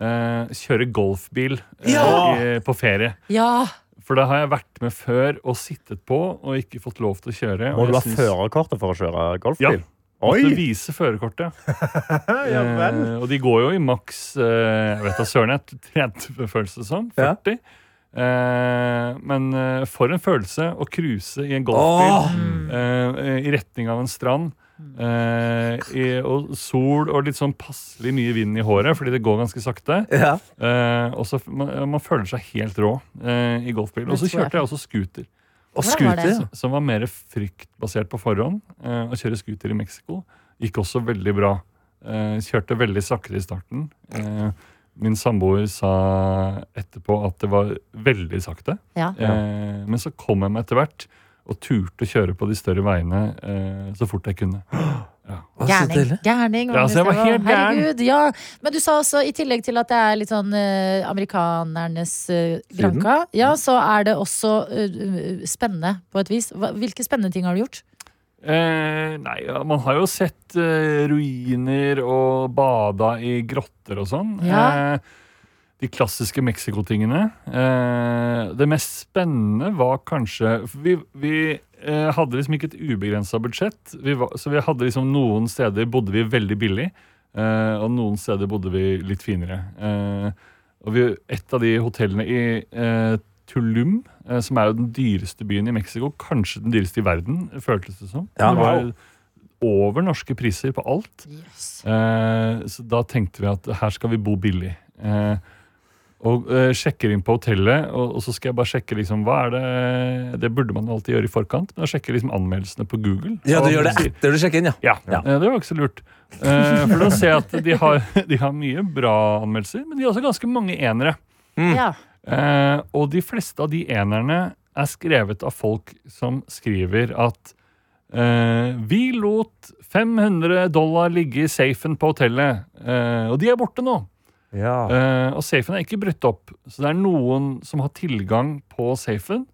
S9: Eh, kjøre golfbil eh,
S5: Ja!
S9: i, på ferie.
S3: Ja,
S9: For det har jeg vært med før og sittet på og ikke fått lov til å kjøre.
S4: Må
S9: og
S4: du ha
S9: jeg syns-
S4: førerkortet for å kjøre
S9: Ja.
S4: golfbil?
S9: Måtte
S4: Oi!
S9: vise førerkortet.
S4: Ja vel.
S9: Eh, og de går jo i maks eh, jeg vet da søren jeg, 30, føles det som.
S5: Ja.
S9: 40. sånn, Eh, men eh, for en følelse å cruise i en golfbil.
S5: Åh,
S9: eh, i retning av en strand. eh, i, og sol og litt sånn passelig mye vind i håret, fordi det går ganske sakte.
S5: ja.
S9: Eh, og så f- man, man føler seg helt rå eh, i golfbil. Og så
S3: Det tror jeg.
S9: kjørte jeg også scooter,
S5: Og
S3: Hvordan var det? altså?
S5: scooter.
S9: som var mer fryktbasert på forhånd. eh, å kjøre scooter i Mexico gikk også veldig bra. Eh, kjørte veldig sakte i starten. Eh, min samboer sa etterpå at det var veldig sakte.
S3: Ja.
S9: Eh, men så kom jeg meg etter hvert og turte å kjøre på de større veiene eh, så fort jeg kunne.
S3: Gærning. gærning
S9: Ja, så jeg var
S3: Magnus, det
S9: helt gæren.
S3: Herregud, ja. Men du sa også, i tillegg til at det er litt sånn eh, amerikanernes eh, granka, ja, så er det også eh, spennende på et vis. Hva, hvilke spennende ting har du gjort?
S9: Eh, nei, ja, man har jo sett eh, ruiner og bada i grotter og sånn.
S3: Ja.
S9: Eh, de klassiske Mexico-tingene. Eh, det mest spennende var kanskje for Vi, vi eh, hadde liksom ikke et ubegrensa budsjett, vi var, så vi hadde liksom noen steder bodde vi veldig billig, eh, og noen steder bodde vi litt finere. Eh, og vi, et av de hotellene i eh, Tulum, eh, som er jo den dyreste byen i Mexico, kanskje den dyreste i verden, føltes det som.
S5: Ja,
S9: det var
S5: wow.
S9: over norske priser på alt. Eh, så da tenkte vi at her skal vi bo billig. Eh, og eh, sjekker inn på hotellet, og, og så skal jeg bare sjekke liksom, hva er det Det burde man jo alltid gjøre i forkant, men jeg sjekker liksom anmeldelsene på Google.
S5: Ja, du
S9: Og
S5: gjør det
S9: sier-
S5: etter du sjekker inn, ja.
S9: ja, eh, det var ikke så lurt. Eh, for da ser jeg at de har, de har mye bra anmeldelser, men de har også ganske mange enere.
S3: Ja.
S9: Eh, og de fleste av de enerne er skrevet av folk som skriver at eh, Vi lot 500 dollar ligge i safen på hotellet, eh, og de er borte nå.
S4: Ja.
S9: Eh, og safen er ikke brutt opp, så det er noen som har tilgang på safen,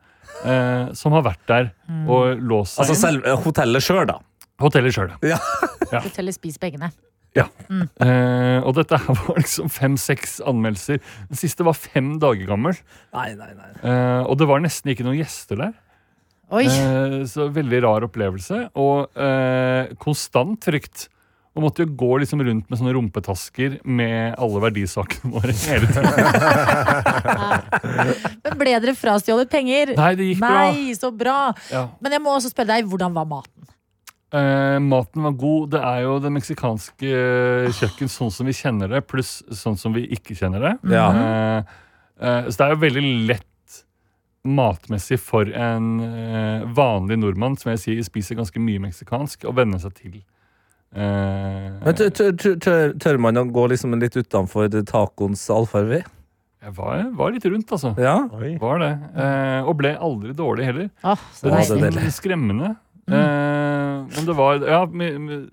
S9: eh, som har vært der og låst seg
S5: Altså
S9: inn.
S5: selv, eh, hotellet sjøl, da.
S9: Hotellet sjøl, ja.
S3: Du teller spis pengene.
S9: Eh, og dette her var liksom fem-seks anmeldelser. Den siste var fem dager gammel.
S5: Nei, nei, nei.
S9: eh, og det var nesten ikke noen gjester der.
S3: Oi!
S9: Eh, så veldig rar opplevelse. Og eh, konstant frykt. Og måtte jo gå liksom rundt med sånne rumpetasker med alle verdisakene våre hele tiden.
S3: Men ble dere frastjålet penger?
S9: Nei, det gikk bra.
S3: Nei, så bra!
S9: Ja.
S3: Men jeg må også spørre deg, hvordan var maten?
S9: Eh, maten var god. Det er jo det meksikanske kjøkken sånn som vi kjenner det, pluss sånn som vi ikke kjenner det.
S5: Ja.
S9: Eh, eh, så det er jo veldig lett matmessig for en eh, vanlig nordmann som jeg sier spiser ganske mye meksikansk, å venne seg til. Eh,
S5: Men tør, tør, tør- tør, tør man å gå liksom litt utenfor tacoens allfarvei?
S9: jeg var, var litt rundt, altså.
S5: Ja.
S4: Oi.
S9: Var det. Eh, og ble aldri dårlig heller.
S3: Åh, så
S9: Det
S5: Ja,
S9: var
S5: det er
S3: deilig.
S9: nesten skremmende. Eh, men det var ja, mi- mi-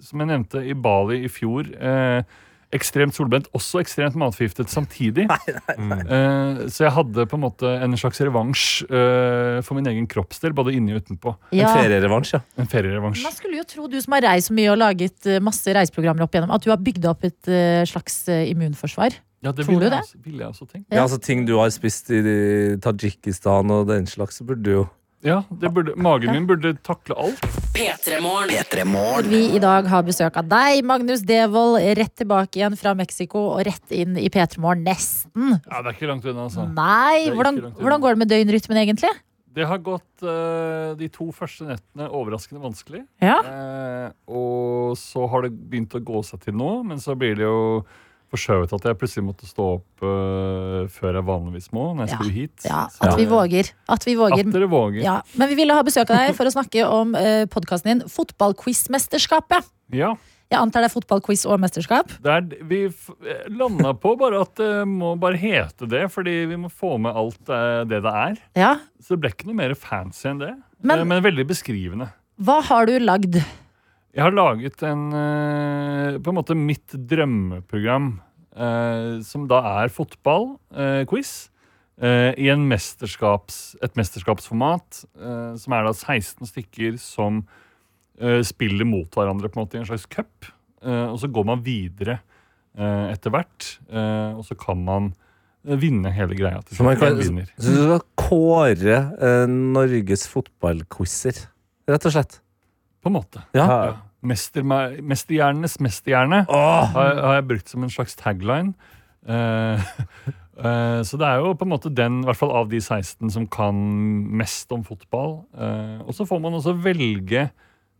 S9: Som jeg nevnte, i Bali i fjor eh, ekstremt solbrent, også ekstremt matforgiftet samtidig. Eh, så jeg hadde på en måte en slags revansj eh, for min egen kroppsdel, både inni og utenpå.
S5: En
S3: Ja.
S5: ferierevansj, ja.
S9: En ferierevansj.
S3: Man skulle jo tro, du som har reist så mye og laget eh, masse reiseprogrammer opp igjennom, at du har bygd opp et eh, slags eh, immunforsvar.
S9: Ja, det
S3: Tror
S9: ville
S3: du
S9: jeg
S3: det?
S9: også- ville jeg også tenkt.
S5: ja. altså Ting du har spist i Tadsjikistan og den slags, så burde du jo
S9: Ja, det burde, Magen min burde takle alt.
S2: P3-morgen.
S1: P3morgen.
S3: Vi i dag har besøk av deg, Magnus Devold, rett tilbake igjen fra Mexico og rett inn i P3morgen. Nesten.
S9: Ja, Det er ikke langt unna, altså.
S3: Nei,
S9: Det er ikke
S3: hvordan,
S9: langt unna.
S3: hvordan går det med døgnrytmen egentlig?
S9: Det har gått eh, de to første nettene overraskende vanskelig.
S3: Ja.
S9: Eh, og så har det begynt å gå seg til nå, men så blir det jo forskjøvet at jeg plutselig måtte stå opp eh, før jeg vanligvis må, når jeg
S3: Ja.
S9: skulle hit.
S3: Ja,
S9: Så-
S3: at vi våger. At vi
S9: At
S3: våger.
S9: dere våger. Ja.
S3: Ja, men vi ville ha besøk av deg for å snakke om eh, podkasten din Fotballquiz-mesterskapet. Jeg antar det er fotballquiz og mesterskap.
S9: det er, vi f eh, landa på bare at det må bare hete det, fordi vi må få med alt eh, det det er.
S3: Ja.
S9: Så det ble ikke noe mer fancy enn det,
S3: Men-
S9: eh, men veldig beskrivende.
S3: Hva har du lagd?
S9: Jeg har laget en eh, På en måte mitt drømmeprogram, eh, som da er fotballquiz. eh, I en mesterskaps, et mesterskapsformat, eh, som er da 16 stykker som eh, spiller mot hverandre på en måte i en slags cup. Eh, og så går man videre eh, etter hvert, eh, og så kan man eh, vinne hele greia. Til
S5: Så man
S9: slutt.
S5: kan-
S9: Hvem vinner.
S5: Så du skal kåre eh, Norges fotballquizer, rett og slett.
S9: På en måte.
S5: Ja.
S9: Ja. Mester, mesterhjernenes mesterhjerne.
S5: Åh,
S9: har, jeg- har jeg brukt som en slags tagline. Eh, eh, så det er jo på en måte den, i hvert fall av de 16, som kan mest om fotball. Eh, og så får man også velge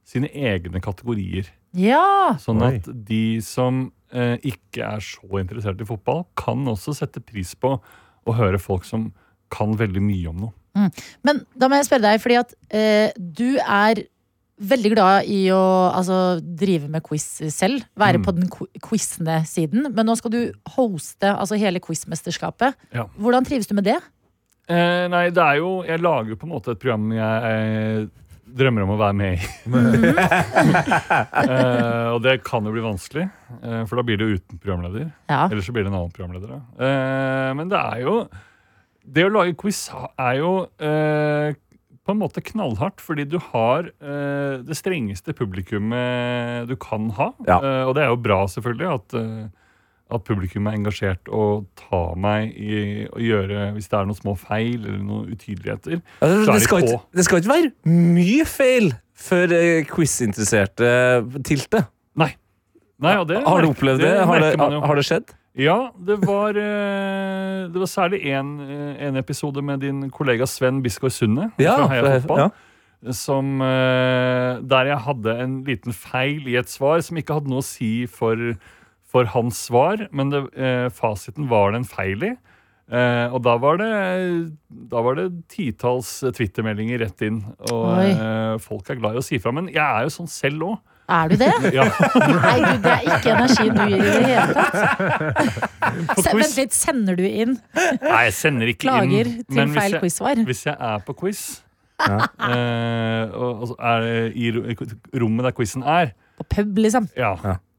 S9: sine egne kategorier.
S3: Ja!
S9: Sånn
S4: Oi.
S9: at de som eh, ikke er så interessert i fotball, kan også sette pris på å høre folk som kan veldig mye om noe.
S3: Men da må jeg spørre deg, fordi at eh, du er veldig glad i å altså, drive med quiz selv.
S9: Mm.
S3: Være på den qu- quizende siden. Men nå skal du hoste altså, hele quizmesterskapet.
S9: Ja.
S3: Hvordan trives du med det?
S9: Eh, nei, det er jo Jeg lager jo på en måte et program jeg eh, drømmer om å være med i. eh, og det kan jo bli vanskelig, eh, for da blir det jo uten programleder.
S3: Ja.
S9: Eller så blir det en annen programleder. Da. Eh, men det er jo Det å lage quiz er jo eh, på en måte knallhardt, fordi du har eh, det strengeste publikummet du kan ha.
S5: Ja.
S9: Eh, og det er jo bra, selvfølgelig, at, eh, at publikum er engasjert og tar meg i å gjøre Hvis det er noen små feil eller noen utydeligheter.
S5: Ja, det,
S9: Så er
S5: Altså, det,
S9: de
S5: skal
S9: på.
S5: ikke, det skal ikke være mye feil før eh, quizinteresserte tilter.
S9: Nei. Nei og det
S5: Har du
S9: merker-
S5: opplevd det? Har det,
S9: merker man jo.
S5: har det skjedd?
S9: Ja, det var, eh, det var særlig én episode med din kollega Sven Biskår Sunde
S5: Ja,
S9: fra Heia
S5: fra-
S9: Fotball.
S5: ja.
S9: Som, eh, der jeg hadde en liten feil i et svar som ikke hadde noe å si for, for hans svar, men det, eh, fasiten var det en feil i. Eh, og da var det Da var det titalls eh, twittermeldinger rett inn. Og
S3: Oi.
S9: eh, folk er glad i å si fra. Men jeg er jo sånn selv òg.
S3: Er du det?
S9: Ja,
S3: Nei, du, det er ikke energien du gir i det hele tatt.
S9: på
S3: Se,
S9: quiz.
S3: vent litt, sender du inn
S9: Nei, jeg sender ikke
S3: klager
S9: inn.
S3: til
S9: men hvis
S3: feil
S9: jeg-
S3: quizsvar?
S9: Hvis jeg er på quiz eh, og, og så er det I ro- i rommet der quizen er
S3: På pub, liksom?
S9: ja,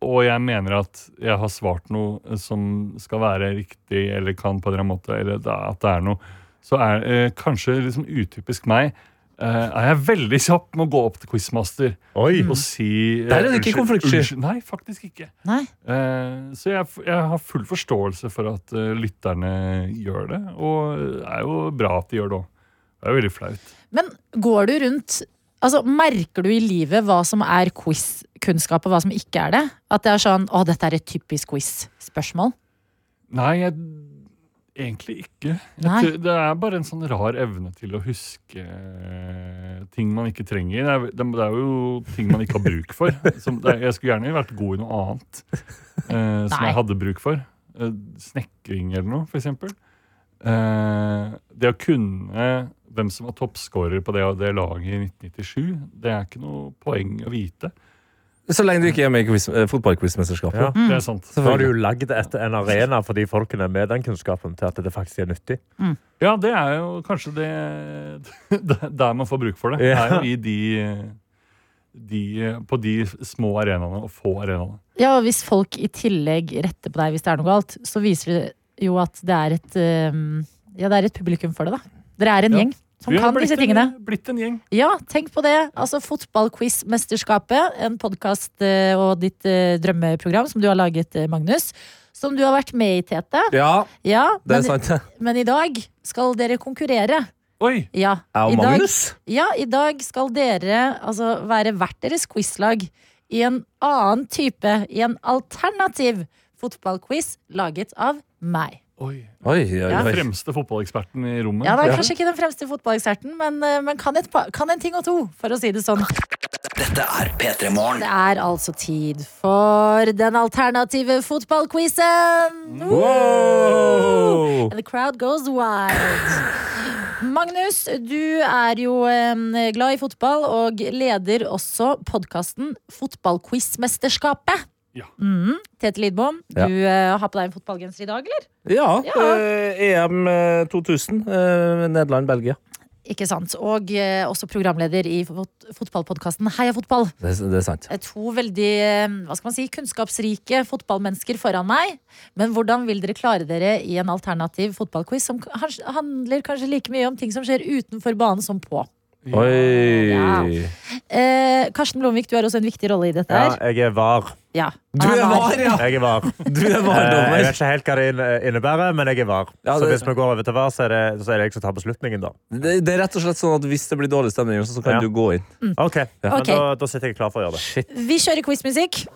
S9: Og jeg mener at jeg har svart noe som skal være riktig Eller kan på en eller annen måte Eller da, at det er noe Så er eh, kanskje liksom utypisk meg eh, Er jeg veldig kjapp med å gå opp til quizmaster
S4: Oi.
S9: Og si eh,
S5: Der er det ikke
S9: unnskyld,
S5: konfliktsky.
S9: unnskyld. Nei, faktisk ikke
S3: Nei.
S9: Eh, så jeg, f- jeg har full forståelse for at eh, lytterne gjør det, og det er jo bra at de gjør det òg. Det er jo veldig flaut.
S3: Men går du rundt Altså, Merker du i livet hva som er quiz-kunnskap, og hva som ikke er det? At det er sånn 'Å, dette er et typisk quiz-spørsmål'?
S9: Nei, jeg, egentlig ikke. Jeg,
S3: Nei.
S9: tror- det er bare en sånn rar evne til å huske eh, ting man ikke trenger. Det er, det, det er jo ting man ikke har bruk for. Som, det, er- jeg skulle gjerne vært god i noe annet eh, som
S3: Nei.
S9: jeg hadde bruk for. Eh, snekring eller noe, for eksempel. Eh, det å kunne hvem som var toppskårer på det og det laget i 1997, det er ikke noe poeng å vite.
S5: Så lenge du ikke er med i quiz- eh, fotballquizmesterskapet.
S4: Ja.
S3: Mm.
S9: Det er sant.
S4: Så har du jo lagd et- en arena for de folkene med den kunnskapen til at det faktisk er nyttig.
S9: Ja, det er jo kanskje det Der man får bruk for det. Det er jo i de, de På de små arenaene og få arenaene.
S3: Ja, og hvis folk i tillegg retter på deg hvis det er noe galt, så viser det jo at det er et eh, Ja, det er et publikum for det, da. Dere er en
S9: Ja.
S3: gjeng som kan disse tingene.
S9: En, blitt en gjeng.
S3: Ja, tenk på det. Altså Fotballquiz-mesterskapet, en podkast og ditt eh, drømmeprogram som du har laget, eh, Magnus. Som du har vært med i, Tete.
S5: Ja,
S3: Ja,
S5: det er
S3: men,
S5: sant.
S3: men i dag skal dere konkurrere.
S9: Oi!
S3: Ja,
S5: Jeg
S3: i
S5: og
S3: dag,
S5: Magnus.
S3: ja, i dag skal dere altså, være hvert deres quizlag i en annen type, i en alternativ fotballquiz laget av meg.
S9: oi.
S5: Oi, oi,
S3: Ja.
S5: oi.
S9: Fremste fotballeksperten i rommet.
S3: Ja, det er kanskje ikke den fremste fotballeksperten, men, eh, men kan, et, pa- kan en ting og to, for å si det sånn.
S1: Dette er P3 Morgen.
S3: Det er altså tid for den alternative fotballquizen! And
S5: Wow!
S3: the crowd goes wild. Magnus, du er jo em, glad i fotball og leder også podkasten Fotballquizmesterskapet.
S9: Ja.
S3: Mhm. Tete Lidbom,
S5: Ja.
S3: du eh, har på deg en fotballgenser i dag, eller?
S5: Ja,
S3: Ja.
S5: eh, EM eh, 2000. eh, Nederland-Belgia.
S3: Ikke sant. Og eh, også programleder i fot fotballpodkasten Heia fotball.
S5: Det, er- det er sant.
S3: Det er To veldig eh, hva skal man si, kunnskapsrike fotballmennesker foran meg. Men hvordan vil dere klare dere i en alternativ fotballquiz som kanskje- handler kanskje like mye om ting som skjer utenfor banen som på?
S5: Oi!
S3: Ja. Eh, Karsten Blomvik, du har også en viktig rolle i dette.
S4: Ja,
S3: her.
S4: jeg er var.
S3: Ja.
S5: Du er
S3: Han
S5: var, ja!
S4: Jeg er var.
S5: Du er
S4: Eh, Jeg
S5: vardommer.
S4: vet ikke helt hva det inne- innebærer, men jeg er var.
S5: Ja,
S4: Så
S5: det-
S4: hvis vi går over til var, så er det, så er det jeg som tar beslutningen, da.
S5: Det, det er rett og slett sånn at Hvis det blir dårlig stemning, så kan
S4: Ja.
S5: du gå inn.
S4: OK. Men
S3: Ok.
S4: da, da sitter jeg klar for å gjøre det.
S3: Vi kjører quizmusikk.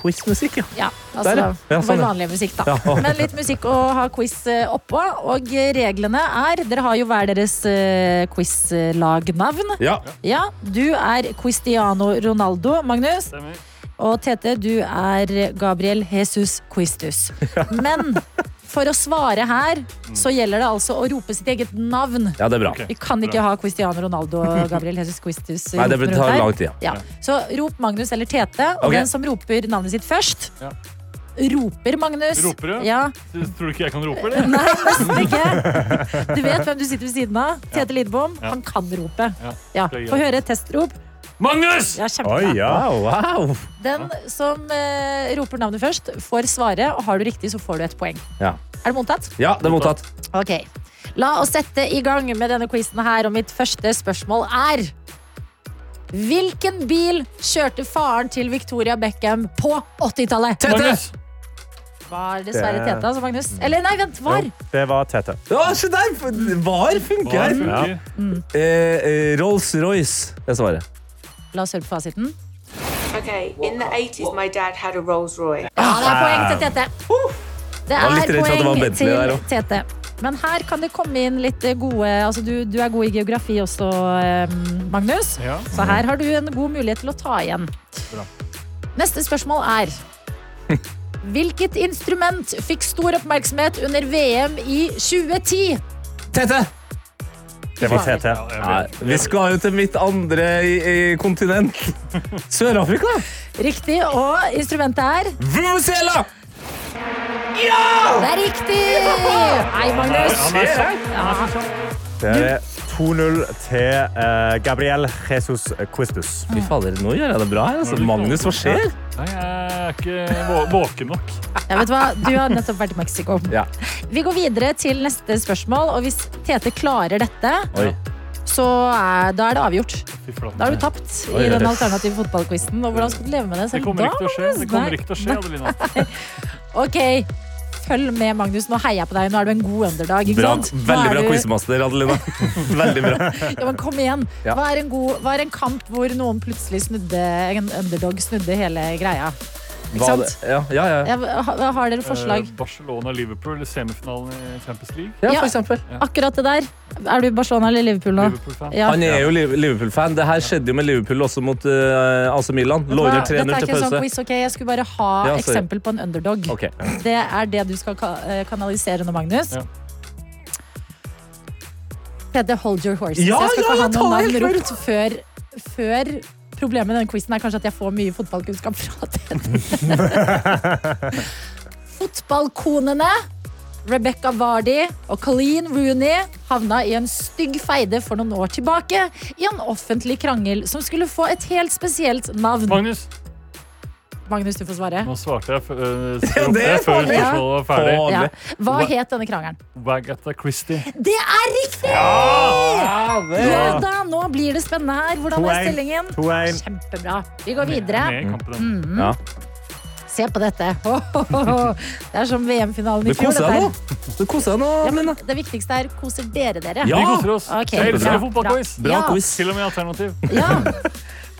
S5: Quizmusikk, ja.
S3: Ja, altså
S5: Der, ja. Ja, sånn,
S3: vår
S5: ja.
S3: vanlige musikk, da.
S5: Ja.
S3: Men litt musikk å ha quiz eh, oppå. Og reglene er Dere har jo hver deres eh, quizlagnavn.
S5: ja.
S3: Ja, du er Cristiano Ronaldo, Magnus.
S9: Stemmer.
S3: Og Tete, du er Gabriel Jesus Quistus. Men For å svare her, så gjelder det altså å rope sitt eget navn.
S5: Ja, det er bra.
S9: Ok.
S3: Vi kan ikke ha Cristiano Ronaldo og Gabriel Jesus Quistus.
S5: Nei, det
S3: ropende
S5: tar
S3: rundt her.
S5: lang tid,
S3: Ja. Så rop Magnus eller Tete, og
S5: Ok.
S3: den som roper navnet sitt først,
S9: Ja.
S3: roper Magnus.
S9: Roper, ja.
S3: ja.
S9: Tror du ikke jeg kan rope, eller?
S3: Nei, nesten ikke. Du vet hvem du sitter ved siden av. Tete Lidbom. Han kan ropet.
S9: Ja.
S3: Ja. Få høre et testrop.
S9: Magnus!
S3: Ja, kjempebra.
S4: Oi, ja.
S5: wow.
S3: Den som eh, roper navnet først, får svare, og har du riktig, så får du et poeng.
S5: Ja.
S3: Er det mottatt?
S5: Ja, det er mottatt.
S3: Ok. La oss sette i gang med denne quizen her, og mitt første spørsmål er Hvilken bil kjørte faren til Victoria Beckham på 80-tallet?
S9: Magnus!
S3: Var dessverre Tete, altså, Magnus. Eller nei, vent, var.
S4: Det var Tete.
S5: Ja, se der! Var funker!
S9: Hva
S4: Ja.
S9: funker?
S5: Eh, eh, Rolls-Royce er svaret.
S3: La oss høre på fasiten.
S10: Okay, in
S11: uh,
S10: the 80s, my dad had a Rolls Royce.
S3: Ja, det er poeng til Tete. Det
S5: var litt
S3: er
S5: redd for at det var
S3: poeng
S5: Bentley der
S3: til
S5: også.
S3: Tete. Men her kan det komme inn litt gode altså Du, du er god i geografi også, eh, Magnus.
S9: Ja.
S3: Så her har du en god mulighet til å ta igjen.
S9: Bra.
S3: Neste spørsmål er Hvilket instrument fikk stor oppmerksomhet under VM i 2010?
S5: Tete!
S4: Det var Tete.
S9: Ja, jeg
S5: Nei,
S9: vet.
S5: vi skal jo til mitt andre i, i kontinent. Sør-Afrika!
S3: Riktig, og instrumentet er
S5: Vuvuzela!
S3: Det er riktig! Nei, Magnus.
S9: Han er sånn.
S4: Det er 2-0 til eh, Gabriel Jesus Quistus.
S5: Fy fader, nå gjør jeg det bra her. Altså. Magnus, hva skjer?
S9: Nei, jeg er ikke vå- våken nok.
S3: Ja, vet du hva? Du har nettopp vært i Mexico.
S5: Ja.
S3: Vi går videre til neste spørsmål, og hvis Tete klarer dette,
S5: Oi.
S3: så er, da er det avgjort.
S9: Fy flate.
S3: Da har du tapt
S5: Oi,
S3: i den
S5: det-
S3: alternative fotballquizen. Og hvordan skal du leve med det?
S9: Det
S3: selv
S9: kommer
S3: da,
S9: ikke til å skje, det
S3: Magnus?
S9: kommer
S3: Nei.
S9: ikke til å skje, Adelina.
S3: Ok, følg med, Magnus. Nå heier jeg på deg. Nå er du en god underdog. Ikke
S5: Bra.
S3: sant? Nå
S5: Veldig
S3: er
S5: bra
S3: du-
S5: quizmaster, Adelina. Veldig bra.
S3: Ja, men kom igjen.
S5: Ja.
S3: Hva, er en god, hva er en kamp hvor noen plutselig snudde, en underdog snudde hele greia? Ikke
S5: Hva-
S3: sant?
S5: Ja, ja, ja.
S3: Ja, ha- har dere forslag?
S9: Eh, Barcelona-Liverpool, semifinalen i Champions League.
S5: ja,
S3: ja.
S5: for eksempel.
S3: Akkurat det der. Er du Barcelona eller Liverpool nå?
S9: Liverpool-fan.
S3: Ja.
S5: Han er jo Liv- Liverpool-fan. Det her skjedde jo med Liverpool også mot eh, AC Milan.
S3: Vet du hva?
S5: Låner 3-0
S3: Dette er
S5: til
S3: ikke en
S5: pause.
S3: sånn quiz, ok? Jeg skulle bare ha
S5: Ja, sorry.
S3: eksempel på en underdog.
S5: Ok.
S3: Det er det du skal ka- eh, kanalisere nå, Magnus.
S9: Ja.
S3: Peder, hold your horses.
S5: Ja,
S3: jeg skal ikke ha
S5: ja, jeg tar
S3: noen navn
S5: helt feil.
S3: ropt før, før Problemet med den quizen er kanskje at jeg får mye fotballkunnskap fra den. Fotballkonene Rebecca Vardy og Colleen Rooney havna i en stygg feide for noen år tilbake i en offentlig krangel som skulle få et helt spesielt navn.
S9: Magnus,
S3: Magnus, du får svare.
S9: nå svarte jeg f- eh,
S5: Ja, det er
S9: ropte før
S5: farlig.
S9: spørsmålet var ferdig.
S5: Faen.
S3: Ja.
S5: Alle.
S3: Hva het denne krangelen?
S9: Wagatha Christie.
S3: Det er riktig! Ja da, nå blir det spennende her. Hvordan er
S4: 2-1.
S3: stillingen?
S4: 2-1.
S3: Kjempebra. Vi går videre. Mm.
S9: Med i kampen.
S5: Ja.
S3: Se på dette. Ho, ho, ho. Det er som VM-finalen i
S5: Du
S3: fjor.
S5: koser deg
S3: dette
S5: nå.
S3: her.
S5: Du koser deg nå,
S3: Ja, men
S5: Adelina.
S3: det viktigste er koser dere dere?
S5: Ja.
S9: Vi koser oss.
S3: Ok,
S9: Jeg elsker
S5: bra.
S9: fotballquiz.
S5: Bra
S3: Ja. Mm,
S5: quiz.
S9: Til og med alternativ.
S3: Ja.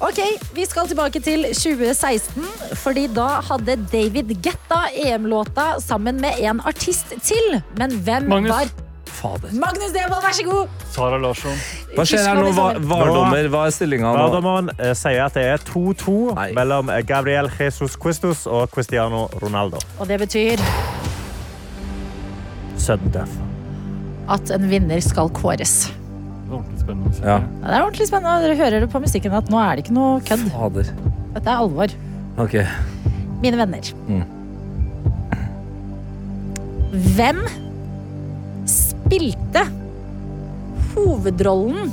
S3: Ok, Vi skal tilbake til 2016, fordi da hadde David Getta EM-låta sammen med en artist til. Men hvem
S9: Magnus.
S3: var
S5: Fader.
S3: Magnus Devold, vær så god!
S9: Sara Larsson.
S5: Hva skjer her
S3: Tyskland
S5: nå?
S3: i
S5: Hva,
S3: sommer.
S5: vardommer, hva er stillinga nå?
S4: Gardermoen eh, sier at det er 2-2
S5: Nei.
S4: mellom eh, Gabriel Jesus Quistus og Cristiano Ronaldo.
S3: Og det betyr
S4: Sudden death.
S3: at en vinner skal kåres.
S9: Det er ordentlig spennende. å se.
S5: Ja.
S3: Ja, Det er ordentlig spennende. Dere hører det på musikken at nå er det ikke noe kødd.
S5: Fader.
S3: Dette er alvor.
S5: Ok.
S3: Mine venner. Hvem spilte hovedrollen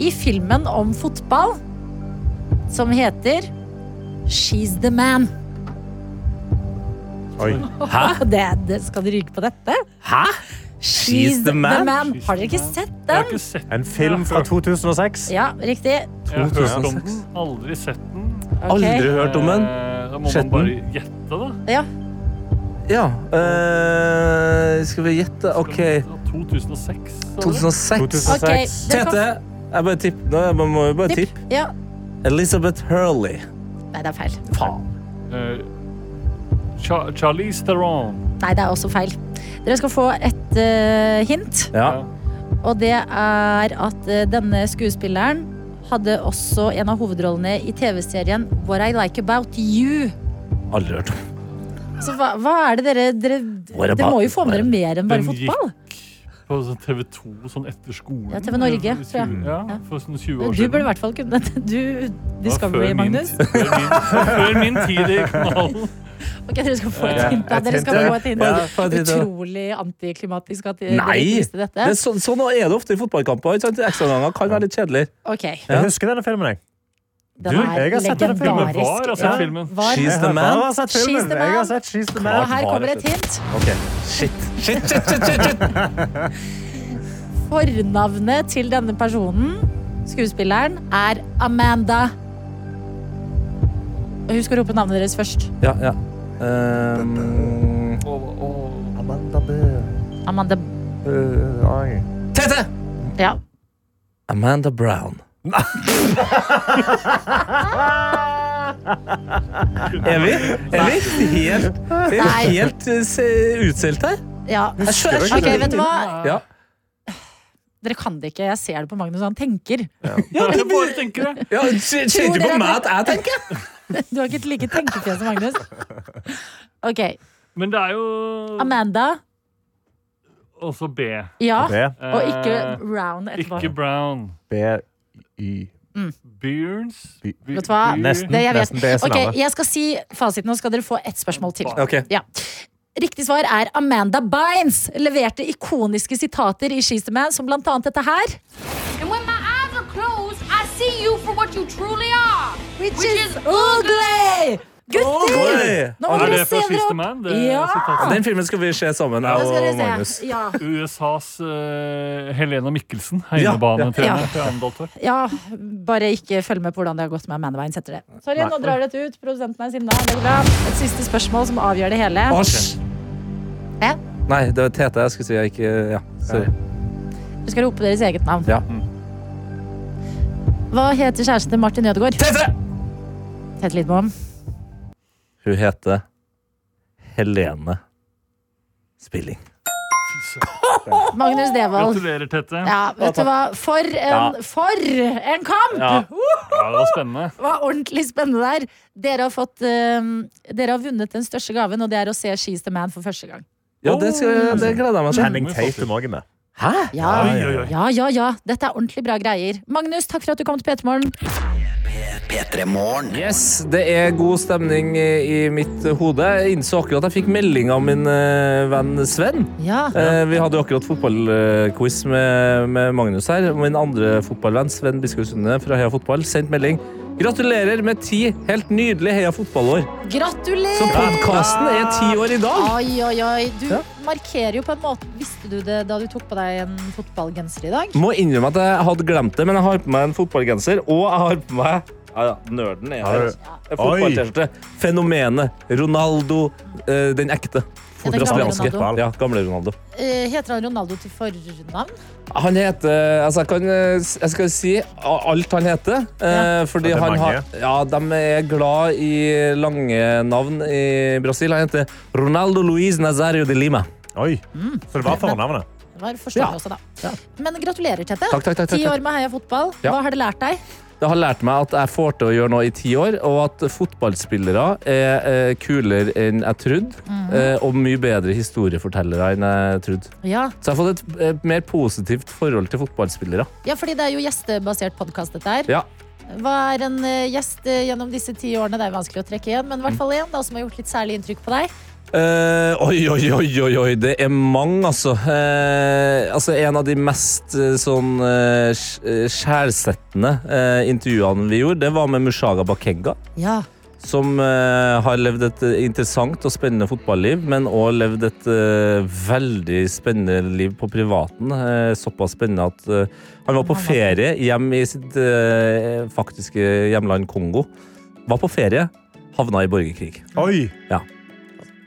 S3: i filmen om fotball som heter She's the Man?
S4: Oi.
S5: Hæ?
S3: Det, det, skal dere ryke på dette?
S5: Hæ?
S3: She's the man.
S9: She's
S3: Har dere
S9: the
S3: ikke
S9: man.
S3: sett
S9: Jeg har
S3: den?
S9: ikke sett den.
S4: En film fra 2006.
S3: Ja, riktig.
S9: Jeg har hørt om
S5: 2006.
S9: den. Aldri sett den.
S3: Ok.
S5: Aldri hørt om den.
S9: Eh, Da må
S5: Sett
S9: man
S5: den.
S9: bare gjette, da.
S3: Ja.
S5: Ja. eh, skal vi gjette? OK.
S9: 2006. sa du?
S5: 2006.
S4: 2006.
S3: Ok, dere kan-
S5: Tete. Jeg bare tipp. Nå, jeg må jo bare tippe.
S3: Ja.
S5: Elizabeth Hurley.
S3: Nei, det er feil.
S5: Faen.
S9: Eh, Cha- Charlize Theron.
S3: Nei, det er også feil. Dere skal få et eh, hint.
S5: Ja.
S3: Og det er at eh, denne skuespilleren hadde også en av hovedrollene i TV-serien What I Like About You.
S5: Aldri hørt om.
S3: Så hva, hva er det dere Dere,
S5: What
S3: dere må
S5: about-
S3: jo få med dere mer enn bare
S9: Den gikk-
S3: fotball.
S9: På sånn TV 2 sånn etter skolen.
S3: Ja, TV Norge,
S9: for
S3: tror jeg.
S9: Ja, for sånn
S3: Du
S9: 20 år
S3: burde i
S9: siden.
S3: hvert fall kunne Du
S9: Det var
S3: Discovery,
S9: før min
S3: Magnus.
S9: tid- Før min, før min tid i kanalen.
S3: Ok, Dere skal få et
S9: Ja,
S3: hint. da.
S5: et
S3: Dere
S5: hint,
S3: skal
S5: ja.
S3: få et hint.
S5: Ja, få et hint, ja.
S3: Utrolig antiklimatisk at dere
S5: Nei!
S3: ikke visste
S5: Det
S3: dette.
S5: er så, sånn er det ofte i fotballkamper. ikke sant? Ekstraganger kan være litt kjedelig.
S3: Ok,
S4: Jeg husker denne filmen. jeg.
S3: Den
S9: Du,
S3: er
S4: jeg har sett denne
S9: Ja, men
S3: legendarisk.
S9: var altså
S3: Ja.
S9: filmen.
S3: Var.
S5: She's
S4: Jeg
S5: the
S4: har
S5: man.
S4: bare sett filmen.
S3: She's the
S4: Jeg har
S3: man.
S4: sett She's the
S3: Og
S4: man.
S3: her
S5: var
S3: kommer
S5: det
S3: et hint.
S5: Shit. Shit, shit, shit, shit, shit.
S3: Fornavnet til denne personen, skuespilleren, er Amanda. Og Husk å rope navnet deres først.
S5: Ja, ja. Ehm,
S4: Amanda Bøe.
S3: Amanda
S4: Bøe, oi.
S5: Tete!
S3: Ja.
S5: Amanda Brown. er vi, er vi helt, vi er
S3: Nei.
S5: helt eh, se- utsolgt her?
S3: ja.
S5: Jeg skjø- jeg
S3: Ok,
S5: skjønner
S3: vet du
S5: ikke.
S3: hva?
S5: Ja.
S3: Dere kan det ikke. Jeg ser det på Magnus, han tenker.
S5: Ja,
S9: Jeg bare tenker det.
S5: ja, se- se
S3: Tror
S5: ikke på
S3: dere
S5: meg
S3: at-
S5: at jeg tenker.
S3: Du har ikke et like tenkefjes som Magnus. Ok.
S9: Men det er jo
S3: Amanda.
S9: også B.
S3: Ja.
S4: B.
S3: Og ikke
S9: Eh,
S3: Brown etterpå.
S9: Ikke Brown.
S4: B-Y.
S9: Bjørns
S4: Bi-
S3: Vet du hva?
S4: Nesten.
S3: Det
S5: Mhm.
S3: jeg vet.
S4: nesten det som
S3: Ok,
S4: er det.
S3: jeg skal si fasiten, og skal dere få ett spørsmål til.
S5: Ok.
S3: Ja. Riktig svar er Amanda Bynes. Leverte ikoniske sitater i She's the Man, som blant annet dette her.
S2: And when my eyes are closed, I see you for what you truly are.
S3: Which is ugly! Gutter!
S5: Oi!
S3: Nå må
S9: Er
S3: dere
S9: det
S3: se
S9: fra
S3: dere
S9: Siste
S3: opp.
S9: Man? Det
S3: Ja.
S9: sitatet?
S5: Den filmen skal vi se sammen,
S3: Nå skal
S5: jeg og
S3: dere
S5: Magnus.
S3: se. Ja,
S9: USAs eh, Helena Mikkelsen,
S5: Ja,
S3: ja.
S9: heimebanetrener til Andalter.
S3: ja, bare ikke følg med på hvordan det har gått med Amanda Bynes etter det. Sorry, nå drar dette ut. Produsenten er sinna. Det går bra. Et siste spørsmål som avgjør det hele.
S5: Asj!
S3: Ja.
S5: Nei, det var Tete jeg skulle si. Jeg ikke, ja, sorry.
S3: Dere skal rope deres eget navn.
S5: Ja.
S3: Hva heter kjæresten til Martin Ødegaard?
S5: Tete!
S3: Tete Lidbom.
S5: Hun heter Helene Spilling.
S3: Magnus Devold.
S9: Gratulerer, Tette. Ja,
S3: Ja, vet du hva? For en, for en kamp!
S9: det var spennende.
S3: Det var ordentlig spennende der. Dere har, fått, eh, dere har vunnet den største gaven, og det er å se She's the Man for første gang.
S5: Ja, det, skal, det gleder jeg meg til.
S4: Henning Tatum òg er med.
S3: Ja,
S9: Oi, oi, oi.
S3: ja, ja. ja. Dette er ordentlig bra greier. Magnus, takk for at du kom til P3morgen.
S1: P3 Morgen.
S5: Yes, det er god stemning eh, i mitt hode. Jeg innså akkurat jeg fikk melding av min eh, venn Sven.
S3: Ja.
S5: Eh, Vi hadde jo akkurat fotballquiz med, med Magnus her. og Min andre fotballvenn, Sven Biskov Sunde fra Heia Fotball, sendte melding. Gratulerer med ti helt nydelige Heia Fotballår. Så
S3: Gratulerer!
S5: podkasten er ti år i dag.
S3: Oi, oi, oi. Du
S5: Ja.
S3: markerer jo på en måte Visste du det da du tok på deg en fotballgenser i dag?
S5: Må innrømme at jeg hadde glemt det, men jeg har på meg en fotballgenser, og jeg har på meg ja, ja, Nerden er her.
S4: Har du-
S5: altså. En fotball-T-skjorte. Fenomenet. Ronaldo. eh, den ekte.
S3: Ja, den gamle
S5: Brasilianske.
S3: Ronaldo.
S5: Ja, gamle Ronaldo.
S3: Eh, heter han Ronaldo til fornavn?
S5: Han heter Altså, jeg kan eh, Jeg skal si a- alt han heter. eh, Fordi
S4: Ja, det er
S5: han har
S4: mange.
S5: Ja, de er glad i lange navn i Brasil. Han heter Ronaldo Luiz Nazario de Lima.
S4: Oi.
S3: Mm.
S4: Så det var fornavnet.
S3: Det var forståelig også, da. Men gratulerer, Tete.
S5: Takk, takk, takk, takk,
S3: Ti
S5: takk.
S3: år med Heia fotball.
S5: Ja.
S3: Hva har det lært deg?
S5: Det har lært meg at jeg får til å gjøre noe i ti år, og at fotballspillere er eh, kulere enn jeg trodde, eh, og mye bedre historiefortellere enn jeg trodde.
S3: Ja,
S5: Så jeg har fått et eh, mer positivt forhold til fotballspillere.
S3: ja fordi det er jo gjestebasert podkast, dette her.
S5: Ja.
S3: Hva er en eh, gjest eh, gjennom disse ti årene? Det er vanskelig å trekke igjen, men i hvert fall en da, som har gjort litt særlig inntrykk på deg.
S5: Eh, oi, oi, oi, oi, oi, det er mange, altså. Eh, altså en av de mest eh, sånn eh, skj- eh, skjælsettende eh, intervjuene vi gjorde, det var med Mushaga Bakenga.
S3: Ja.
S5: som eh, har levd et eh, interessant og spennende fotballiv, men også levd et eh, veldig spennende liv på privaten. Eh, såpass spennende at eh, han var på ferie hjem i sitt eh, faktiske hjemland Kongo. Var på ferie, havna i borgerkrig.
S3: Mm.
S4: Oi.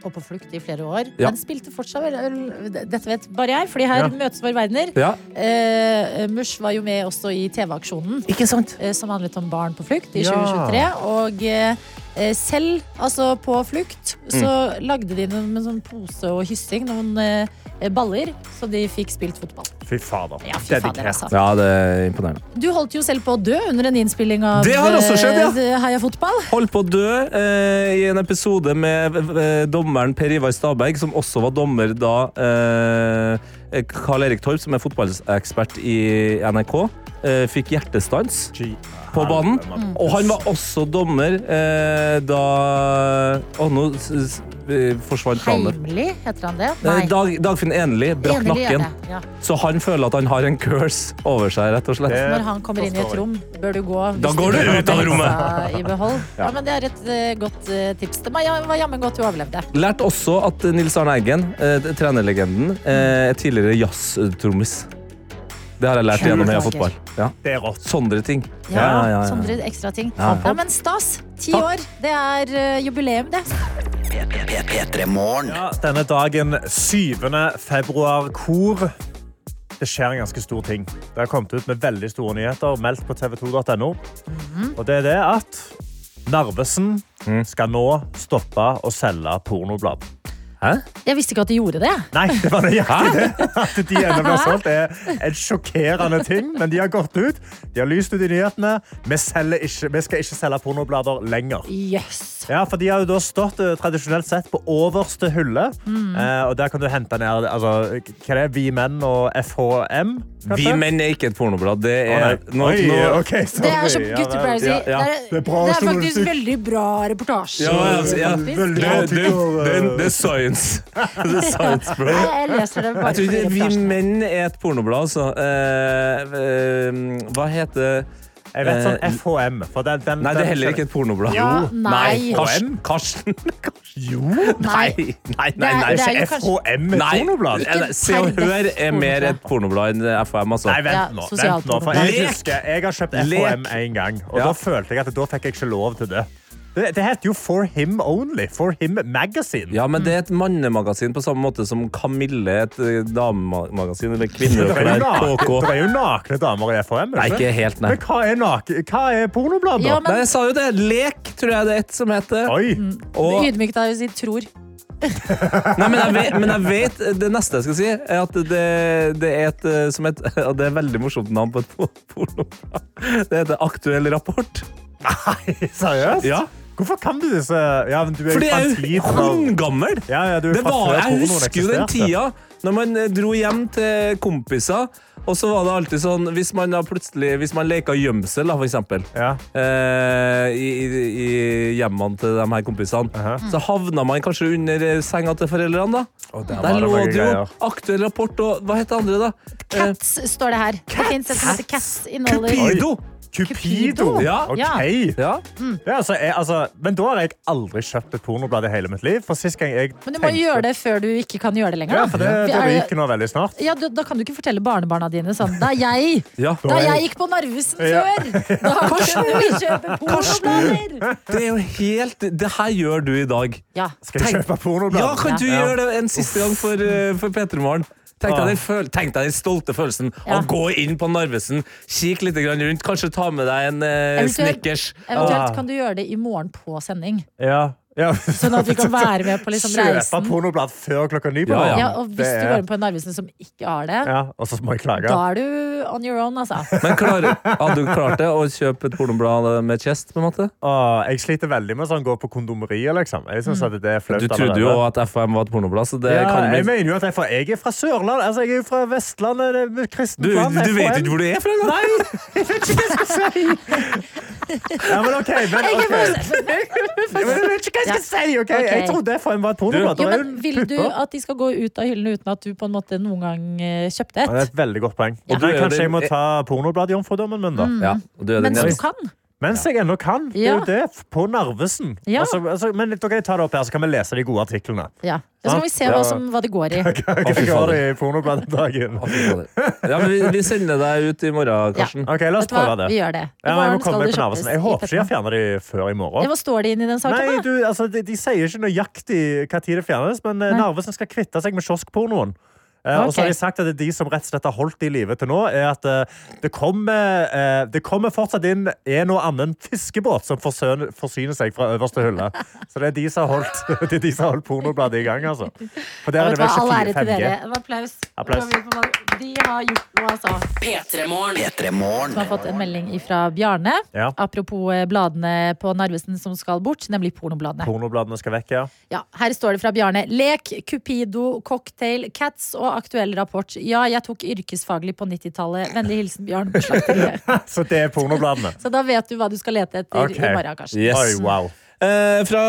S3: Og på flukt i flere år.
S5: Ja.
S3: Men spilte fortsatt vel, vel- Dette vet bare jeg, fordi her
S4: Ja.
S3: møtes våre verdener.
S5: Ja,
S3: Eh, Mush var jo med også i TV-aksjonen.
S5: ikke sant?
S3: eh, Som handlet om barn på flukt i
S4: Ja.
S3: 2023. Og eh, eh,
S5: Mm.
S3: selv, altså på flukt, så lagde de noen, med sånn pose og hyssing noen eh, eh, baller, så de fikk spilt fotball.
S4: Fy fader.
S3: Ja, fy fader, altså.
S5: Ja, det er imponerende.
S3: Du holdt jo selv på å dø under en innspilling av
S5: Det har også skjedd, ja.
S3: eh, Heia fotball.
S5: Holdt på å dø eh, i en episode med eh, dommeren Per Ivar Stabæk, som også var dommer da eh, Karl Erik Torp, som er fotballekspert i NRK, eh, fikk hjertestans på banen. Og han var også dommer eh, da Å, nå s- s- eh, forsvant planen.
S3: Heimly, heter han det?
S5: Eh, Dag, Dagfinn Enli brakk
S3: Enelig gjør
S5: nakken,
S3: det, ja.
S5: så han føler at han har en curse over seg. rett og slett.
S3: Når han kommer inn i et rom, bør du gå
S5: Da
S3: hvis
S5: går du
S3: vil
S5: ut av
S3: holde
S5: rommet.
S3: helsa I behold. Ja, men Det er et eh, godt eh, tips. Det var det var jammen godt du overlevde.
S5: Lært også at Nils Arne Eggen, eh, trenerlegenden, eh, er tidligere jazztrommis. Det har jeg lært gjennom Heia Fotball. Ja.
S4: Det er rått.
S5: Sånne ting.
S3: Ja, Sondre, ekstra ting.
S5: Ja.
S3: Nei, men stas. Ti
S5: Takk.
S3: år. Det er eh, jubileum, det.
S1: P3morgen.
S4: Ja, denne dagen, 7. februar, hvor det skjer en ganske stor ting. Det har kommet ut med veldig store nyheter, meldt på tv2.no.
S3: Mhm.
S4: Og det er det at Narvesen skal nå stoppe å selge pornoblad.
S3: Jeg visste ikke at de gjorde det.
S4: Nei, det var nøyaktig det. At de ennå blir solgt, er en sjokkerende ting. Men de har gått ut. De har lyst ut i nyhetene. Vi, selger ikke, vi skal ikke selge pornoblader lenger.
S3: Jøss. Yes.
S4: Ja, for De har jo da stått eh, tradisjonelt sett på overste hylle.
S3: Mm.
S4: Eh, og Der kan du hente ned altså, hva det er, Vi Menn og FHM. kanskje?
S5: Vi menn er ikke et pornoblad. Det
S4: Å,
S5: er
S4: nei. Oi,
S5: nå, nå,
S4: ok, sorry.
S3: Det er som
S4: Ja,
S3: gutter
S4: vel.
S3: pleier å si.
S5: ja, ja.
S3: Det er-
S4: Det er bra
S3: Det er faktisk
S4: journalistikk.
S3: veldig bra reportasje.
S5: Ja, ja, ja.
S3: faktisk.
S4: Veldig
S5: det,
S4: bra
S5: det, det,
S4: tittel, eh.
S5: det er science. Det er science, bro.
S3: Nei, Jeg leser det bare
S5: Jeg tror
S3: fordi
S5: ikke Vi
S3: reportasjen.
S5: menn er et pornoblad, altså. Eh, eh, hva heter
S4: Jeg vet
S5: Eh,
S4: sånn FHM. For den, den,
S5: Nei, det
S4: den-
S5: er heller ikke et pornoblad.
S3: Ja, nei.
S5: Karsten. Karsten.
S4: Jo!
S3: Nei.
S5: Nei, nei, nei. nei.
S3: Det er jo
S4: Ikke
S3: kanskje-
S4: FHM med
S5: Nei,
S4: pornoblad.
S5: eller, Se og Hør er mer et pornoblad enn FHM. Altså.
S4: Nei,
S3: Ja,
S4: vent nå.
S3: sosialt
S4: Vent nå for jeg
S5: pornoblad.
S4: husker jeg har kjøpt
S5: Lek.
S4: FHM én gang, og
S5: Ja.
S4: da følte jeg at da fikk jeg ikke lov til det. Det, det heter jo For Him Only. For Him Magazine.
S5: Ja, men det er et mannemagasin på samme måte som Kamille er et eh, damemagasin. Eller
S4: Det
S5: kvinner og
S4: er jo
S5: klær.
S4: nakne,
S5: KK.
S4: det er jo nakne damer i FHM.
S5: Nei, ikke helt, nei.
S4: Men hva er, nak hva er pornoblad, da?
S3: Ja,
S5: Nei,
S3: men
S5: jeg sa jo det. Lek, tror jeg det er et som heter.
S4: Oi!
S3: Mm.
S5: Og,
S3: ydmykt av å si tror.
S5: nei, men, jeg vet, men jeg vet Det neste jeg skal si, er at det, det er et eh, som et Og det er et veldig morsomt navn på et por- pornoblad. Det heter Aktuell rapport.
S4: Nei, seriøst?
S5: Ja.
S4: Hvorfor kan du disse Ja, men du er
S5: For
S4: jo
S5: det
S4: fra
S5: er
S4: en
S5: jo
S4: tid da-
S5: håndgammel!
S4: ja, ja, du er
S5: Det
S4: fra
S5: var,
S4: før
S5: jeg
S4: pornoen
S5: husker jo den
S4: eksisterte.
S5: tida når man eh, dro hjem til kompiser, og så var det alltid sånn Hvis man da plutselig Hvis man leka gjemsel, da, for eksempel,
S4: Ja.
S5: eh, i, i, i hjemmene til de her kompisene,
S4: Aha.
S5: så havna man kanskje under eh, senga til foreldrene, da.
S4: der
S5: der
S4: var det
S5: lå
S4: mange
S5: det jo
S4: greier.
S5: aktuell rapport og Hva het det andre, da? Eh,
S3: Cats står det her. Det finnes et som heter Cats. Inneholder
S5: Cupido!
S4: Cupido?
S5: Ja.
S4: OK.
S3: Ja.
S5: Ja.
S4: Ja, altså, jeg, altså, men da har jeg aldri kjøpt et pornoblad i hele mitt liv. For sist gang jeg
S3: Men du må gjøre det før du ikke kan gjøre det lenger.
S4: Ja, for det,
S3: da.
S4: det
S3: Er det-
S4: ryker nå veldig snart.
S3: ja, du, da kan du ikke fortelle barnebarna dine sånn Da jeg,
S5: ja.
S3: da jeg gikk på Narvesen
S4: Ja.
S3: før, da kunne vi kjøpe pornoblader!
S5: Det er jo helt Det her gjør du i dag.
S3: Ja.
S4: Skal jeg
S5: Tenk-
S4: kjøpe pornoblad?
S5: Ja, kan du
S4: Ja. Ah.
S5: gjøre det en siste gang for, eh, for Peter Morgen? Tenk deg, den føl tenk deg den stolte følelsen
S3: Ja.
S5: av å gå inn på Narvesen, kikke litt grann rundt, kanskje ta med deg en eh,
S3: Eventuelt-
S5: Snickers.
S4: Ah.
S3: Eventuelt kan du gjøre det i morgen på sending,
S4: Ja. Ja.
S3: sånn at vi kan være med på liksom
S4: Kjøpe
S3: reisen.
S4: pornoblad før klokka ni på
S5: Ja,
S4: morgenen.
S3: Ja, og hvis
S4: Det
S3: du
S4: er-
S3: går inn på en Narvesen som ikke har det,
S4: Ja, og så må jeg klage.
S3: da er du on your own, altså.
S5: Men klarer, hadde du klart det å kjøpe et pornoblad med chest? på en måte?
S4: Åh, jeg sliter veldig med sånn gå på kondomeriet, liksom. Jeg
S3: Mm.
S4: synes at det er flaut
S5: Du trodde jo
S4: allerede.
S5: at FHM var et pornoblad, så det
S4: ja,
S5: kan
S4: jeg
S5: bli
S4: mener jo at jeg er fra, jeg er fra Sørlandet. Altså, jeg er jo fra Vestlandet. Det er kristent
S5: du,
S4: land.
S5: du
S4: FHM.
S5: vet jo ikke hvor du er fra engang!
S4: Ja, men OK. Men, ok. Ja, men jeg vet ikke hva jeg skal si. ok? Jeg
S3: Ok.
S4: trodde FHM var et pornoblad.
S3: Jo,
S4: Det er jo
S3: men
S4: en
S3: Vil du
S4: putter.
S3: at de skal gå ut av hyllene uten at du på en måte noen gang eh, kjøpte
S4: Ja, det er
S3: et?
S4: et veldig godt poeng.
S5: Og du
S4: Nei,
S5: er jo
S4: kanskje jeg må
S5: den-
S4: ta pornobladjomfrudommen min, da.
S5: Ja, og du er den
S3: Mens du
S5: eneste.
S3: kan?
S4: Mens jeg ennå kan. Det er jo
S3: Mm. Ja.
S4: det. På Narvesen.
S3: Ja.
S4: Altså, altså, men dere ta det opp her, så kan vi lese de gode artiklene.
S3: Ja. Så kan vi se hva, som, hva det går i.
S4: Hva går det
S5: fy fader.
S4: i pornobladdagen?
S5: Ja, men vi, vi sender deg ut i morgen,
S3: Ja.
S5: Karsten.
S4: OK, la oss
S3: Vet du hva?
S4: prøve det.
S3: Vi gjør det. I
S4: Ja, men jeg
S3: morgen
S4: må
S3: skal
S4: komme
S3: det
S4: på Narvesen.
S3: kjøpes
S4: Jeg
S3: i
S4: håper ikke
S3: Petra.
S4: jeg fjerner de før i
S3: Ja,
S4: morgen.
S3: Hva står det inn i den saken,
S4: Nei,
S3: da?
S4: du, altså, de, de sier ikke nøyaktig hva tid det fjernes, men eh, Narvesen skal kvitte seg med kioskpornoen. Eh, Og
S3: Ok.
S4: så har de sagt at det er de som rett og slett har holdt de i live til nå, er at eh, det kommer, eh, det kommer fortsatt inn en og annen fiskebåt som forsøn- forsyner seg fra øverste hylle. Så det er de som har holdt, det er de som har holdt pornobladet i gang, altså. For der er
S3: Vet
S4: det
S3: du hva,
S4: vel
S3: all ære
S4: 24
S3: til
S4: 5G.
S3: dere. Det var applaus.
S4: Applaus.
S3: Det var mye for mange. De har gjort noe, altså.
S1: P3morgen.
S3: Som har fått en melding fra Bjarne.
S4: Ja.
S3: Apropos eh, bladene på Narvesen som skal bort, nemlig pornobladene.
S4: Pornobladene skal vekk, ja.
S3: Ja, her står det fra Bjarne. Lek, Cupido, Cocktail, Cats og aktuell rapport. Ja, jeg tok yrkesfaglig på 90-tallet. Vennlig hilsen Bjørn på slakteriet.
S4: Så det er pornobladene.
S3: Så da vet du hva du skal lete etter
S4: Ok.
S3: i morgen, kanskje.
S5: Yes.
S4: Oi, wow.
S5: Eh, fra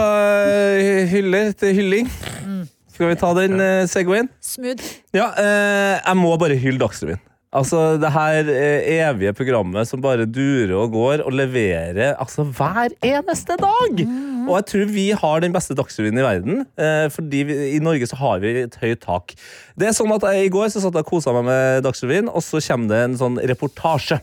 S5: eh, hyller til hylling.
S4: Mm.
S5: Skal vi ta den eh, segwayen?
S3: Smooth.
S5: Ja, eh, jeg må bare hylle Dagsrevyen. Altså, det her eh, evige programmet som bare durer og går og leverer altså, hver eneste dag!
S3: Mhm.
S5: Og jeg tror vi har den beste Dagsrevyen i verden, eh, fordi vi, i Norge så har vi et høyt tak. Det er sånn at jeg, I går så satt jeg og kosa meg med Dagsrevyen, og så kommer det en sånn reportasje.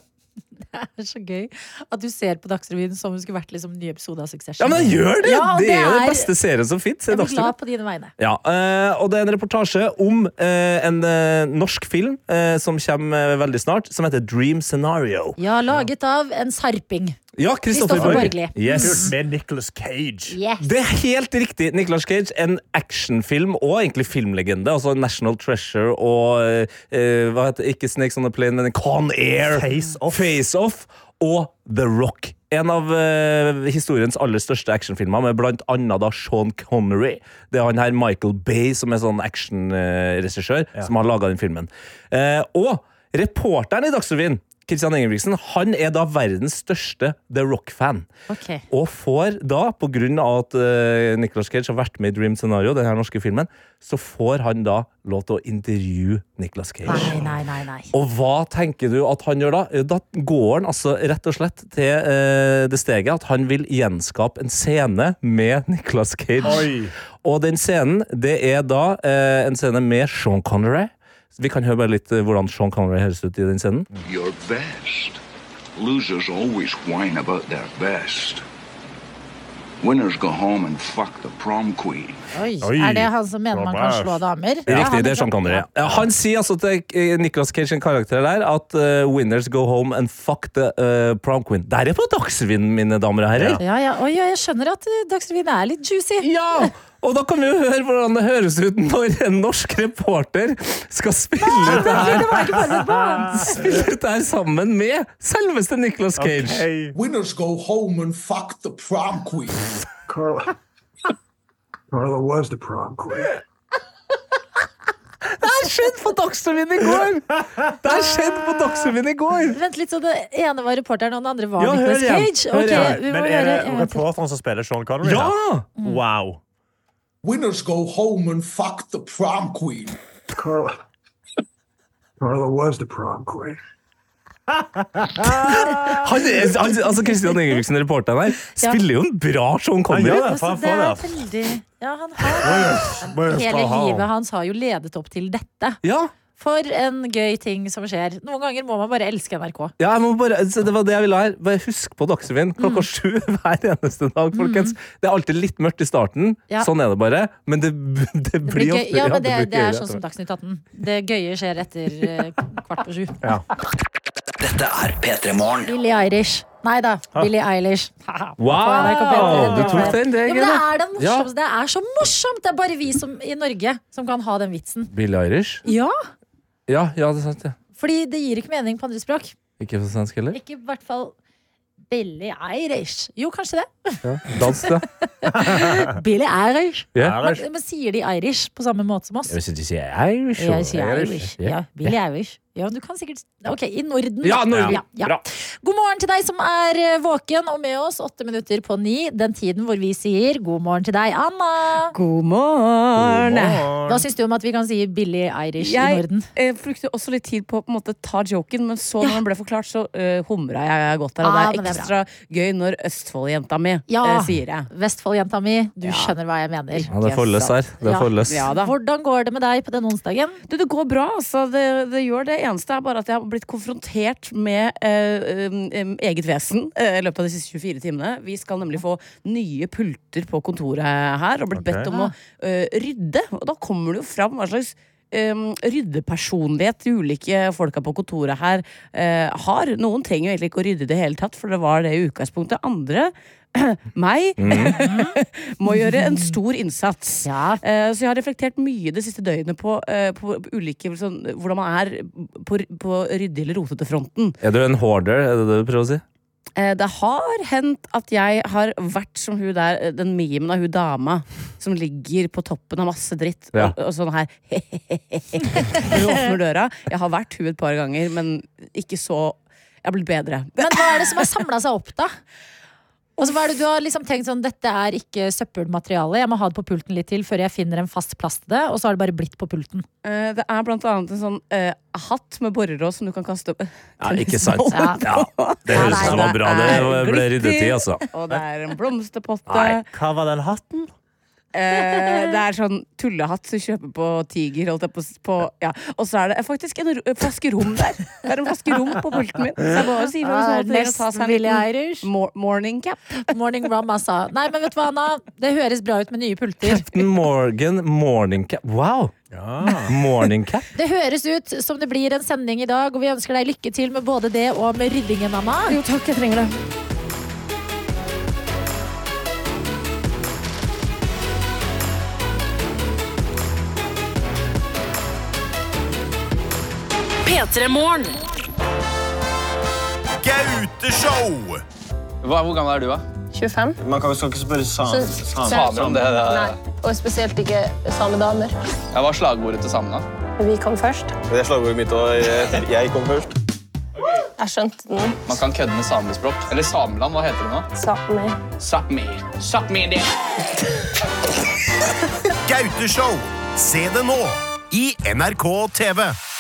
S3: Det er så gøy at du ser på Dagsrevyen som om det skulle vært liksom nye episoder av Succession.
S5: Ja, men jeg gjør det!
S3: Ja, og
S5: det, er jo
S3: er-
S5: den beste serien som fins.
S3: Jeg blir glad på dine vegne.
S5: Ja, eh, og det er en reportasje om eh, en eh, norsk film eh, som kommer eh, veldig snart, som heter Dream Scenario.
S3: Ja, laget av en sarping.
S5: Ja, Kristoffer
S3: Christopher
S5: Borgli.
S3: Borgli.
S5: Yes.
S4: Med Nicolas Cage.
S3: Yes.
S5: Det er helt riktig. Nicolas Cage, en actionfilm og egentlig filmlegende. Altså National Treasure og eh, hva heter Ikke Snakes On The Plane, men Con Air.
S4: Face Off.
S5: Face Off og The Rock. En av eh, historiens aller største actionfilmer, med blant annet da Sean Connery. Det er han her Michael Bay, som er sånn actionregissør, som har laga den filmen. Eh, og reporteren i Dagsrevyen, Christian Ingebrigtsen, han er da verdens største The Rock-fan.
S3: Ok.
S5: Og får da, på grunn av at eh, Nicolas Cage har vært med i Dream Scenario, den her norske filmen, så får han da lov til å intervjue Nicolas Cage.
S3: Nei, nei, nei. nei.
S5: Og hva tenker du at han gjør da? Eh, Da går han altså rett og slett til eh, det steget at han vil gjenskape en scene med Nicolas Cage.
S4: Oi.
S5: Og den scenen, det er da eh, en scene med Sean Connery. Vi kan høre bare litt eh, hvordan Sean Connery høres ut i den scenen.
S11: Your best. Losers always whine about their best. Winners go home and fuck the prom queen.
S3: Oi.
S4: Oi.
S3: Er det han som mener man kan slå damer? Ja,
S5: Riktig,
S3: han
S5: det er Sean Connery. Ja, Han sier altså til eh, Nicolas Cage sin karakter der at eh, winners go home and fuck the eh, prom queen. Der er på Dagsrevyen, mine damer og herrer!
S3: Ja, ja. Oi, ja, jeg skjønner at eh, Dagsrevyen er litt juicy.
S5: Ja! Og da kan vi jo høre hvordan det høres ut når en norsk reporter skal spille ut det her, spille ut det her sammen med selveste Nicolas Cage.
S4: Hey.
S11: Winners go home and fuck the prom queen.
S8: Carla. Carla was the prom queen.
S5: Det her skjedde på Dagsrevyen i går! Det her skjedde på Dagsrevyen i går!
S3: Vent litt, så det ene var reporteren, og den andre var
S5: Ja, hør
S3: Nicolas
S5: igjen.
S3: Cage?
S5: Hør
S3: Ok,
S5: igjen.
S3: vi
S4: Men
S3: må
S4: er
S3: høre eh,
S4: det
S3: en gang til.
S4: reporteren som spiller Sean Connery?
S5: Ja!
S4: da? Mm. Wow.
S11: Winners go home and fuck the prom queen.
S8: Carla. Carla was the prom queen.
S5: Han, er- han, altså Christian Ingebrigtsen, reporteren her, spiller jo en bra Sean Connery.
S4: Han gjør det.
S3: Altså,
S4: faen,
S3: det er
S4: faen,
S3: veldig Ja, han har Hele livet hans har jo ledet opp til dette.
S5: Ja,
S3: For en gøy ting som skjer. Noen ganger må man bare elske NRK.
S5: ja jeg må bare, altså, det var det jeg ville her. Bare husk på Dagsrevyen
S3: Mm.
S5: klokka sju hver eneste dag, folkens. Det er alltid litt mørkt i starten,
S3: Ja.
S5: sånn er det bare. Men det, det
S3: Det
S5: blir
S3: blir gøy.
S5: ofte-
S3: Ja, men det,
S5: blir
S3: det er
S5: gøyere
S3: sånn
S5: etter
S3: som
S5: hvert.
S3: Dagsnytt 18. Det gøye skjer etter eh, kvart på sju.
S1: Dette er P3morgen.
S3: Billie Eilish. Nei da, Billie Eilish.
S5: Wow! Du tok den, det
S3: Ja,
S5: er
S3: men
S5: gøy,
S3: det
S5: da.
S3: er det morsomste. Det er så morsomt! Det er bare vi som, i Norge som kan ha den vitsen.
S5: Bill Irish?
S3: Ja,
S5: Ja, ja, det er sant, ja.
S3: fordi det gir ikke mening på andre språk.
S5: Ikke på svensk heller?
S3: Ikke i hvert fall Billie Eilish. Jo, kanskje det.
S5: Ja. Dans, da.
S3: Billie Eilish.
S5: Ja.
S3: Men, men sier de Irish på samme måte som oss?
S5: Hvis ikke sier Irish
S3: Jeg sier
S5: eller-
S3: Irish.
S5: Ja.
S3: Ja, Billie Irish. Ja, du kan sikkert Ok, i Norden. da.
S5: Ja, Norge.
S3: Ja, ja.
S5: Bra.
S3: God morgen til deg som er eh, våken og med oss åtte minutter på ni. Den tiden hvor vi sier god morgen til deg, Anna.
S12: God morgen!
S3: Hva syns du om at vi kan si Billie Irish i
S12: Jeg
S3: Norden?
S12: eh, brukte også litt tid på å på en måte, ta joken, men så når den ble forklart, så eh, humra jeg godt der. Og
S3: Ah,
S12: det er
S3: men det er
S12: ekstra gøy når Østfoldjenta mi
S3: Ja.
S12: eh, sier det.
S3: Vestfoldjenta mi, du skjønner hva jeg mener.
S5: Ja, det er forløs her. Det er
S3: Ja.
S5: forløs.
S12: Ja da.
S3: Hvordan går det med deg på denne onsdagen?
S12: Du, det går bra, altså. Det, det gjør det. Eneste er bare at jeg har blitt konfrontert med eh, um, um, eget vesen eh, i løpet av de siste 24 timene. Vi skal nemlig få nye pulter på kontoret her, og blitt bedt om å eh, rydde. Og da kommer det jo fram hva slags um, ryddepersonlighet de ulike folka på kontoret her eh, har. Noen trenger jo egentlig ikke å rydde i det hele tatt, for det var det i utgangspunktet. Andre meg må gjøre en stor innsats. Eh, så jeg har reflektert mye det siste døgnet på, eh, på ulike sånn, hvordan man er på, på ryddig eller rotete fronten.
S5: Er du en hoarder? Er det det du prøver å si?
S12: Eh, Det har hendt at jeg har vært som hun der, eh, den memen av hun dama som ligger på toppen av masse dritt
S5: Ja.
S12: og, og sånn her Når hun åpner døra. Jeg har vært hun et par ganger, men ikke så Jeg har blitt bedre.
S3: Men hva er det som har samla seg opp, da? Og så hva er det Du har liksom tenkt sånn, dette er ikke søppelmateriale. Jeg må ha det på pulten litt til før jeg finner en fast plass til det. Og så har det bare blitt på pulten.
S12: Eh, Det er blant annet en sånn eh, hatt med borelås som du kan kaste opp.
S5: Ja, ikke sant?
S12: Ja.
S5: Ja, det høres ut som det var bra. Det ble ryddetid, altså.
S12: Og det er en blomsterpotte.
S4: Nei, hva var den hatten?
S12: Eh, det er sånn tullehatt du kjøper på Tiger. Holdt jeg på, s- på, ja. Og så er det faktisk en ro- flaske rom der. Det er en flaske rom på pulten min. Så jeg må jo si fra hvis
S3: Ah,
S12: noen trenger å ta
S3: nesten
S12: seg en
S3: Billie
S12: liten
S3: Irish.
S12: mor morning cap.
S3: Morning rum, altså. Nei, men vet du hva, Anna? Det høres bra ut med nye pulter.
S5: Morgan morning cap. Wow! Morning cap.
S3: Det høres ut som det blir en sending i dag, og vi ønsker deg lykke til med både det og med ryddingen, Anna.
S12: Jo takk, jeg trenger det.
S13: P3morgen.
S14: Gauteshow! Hva, hvor gammel er du, da?
S15: 25.
S14: Man kan, skal ikke spørre
S15: Så-
S14: sam- sam-
S15: så-
S14: samer om det. det, det.
S15: Nei, og spesielt ikke samedamer.
S14: Ja, hva er slagordet til samene?
S15: Vi kom først.
S14: Det er slagordet mitt, og jeg kom først.
S15: Jeg skjønte den.
S14: Man kan kødde med samespråk. Eller Sameland, hva heter det nå?
S15: Sápmi.
S14: Sápmi. Sápmi det.
S16: Gauteshow. Se det nå i NRK TV.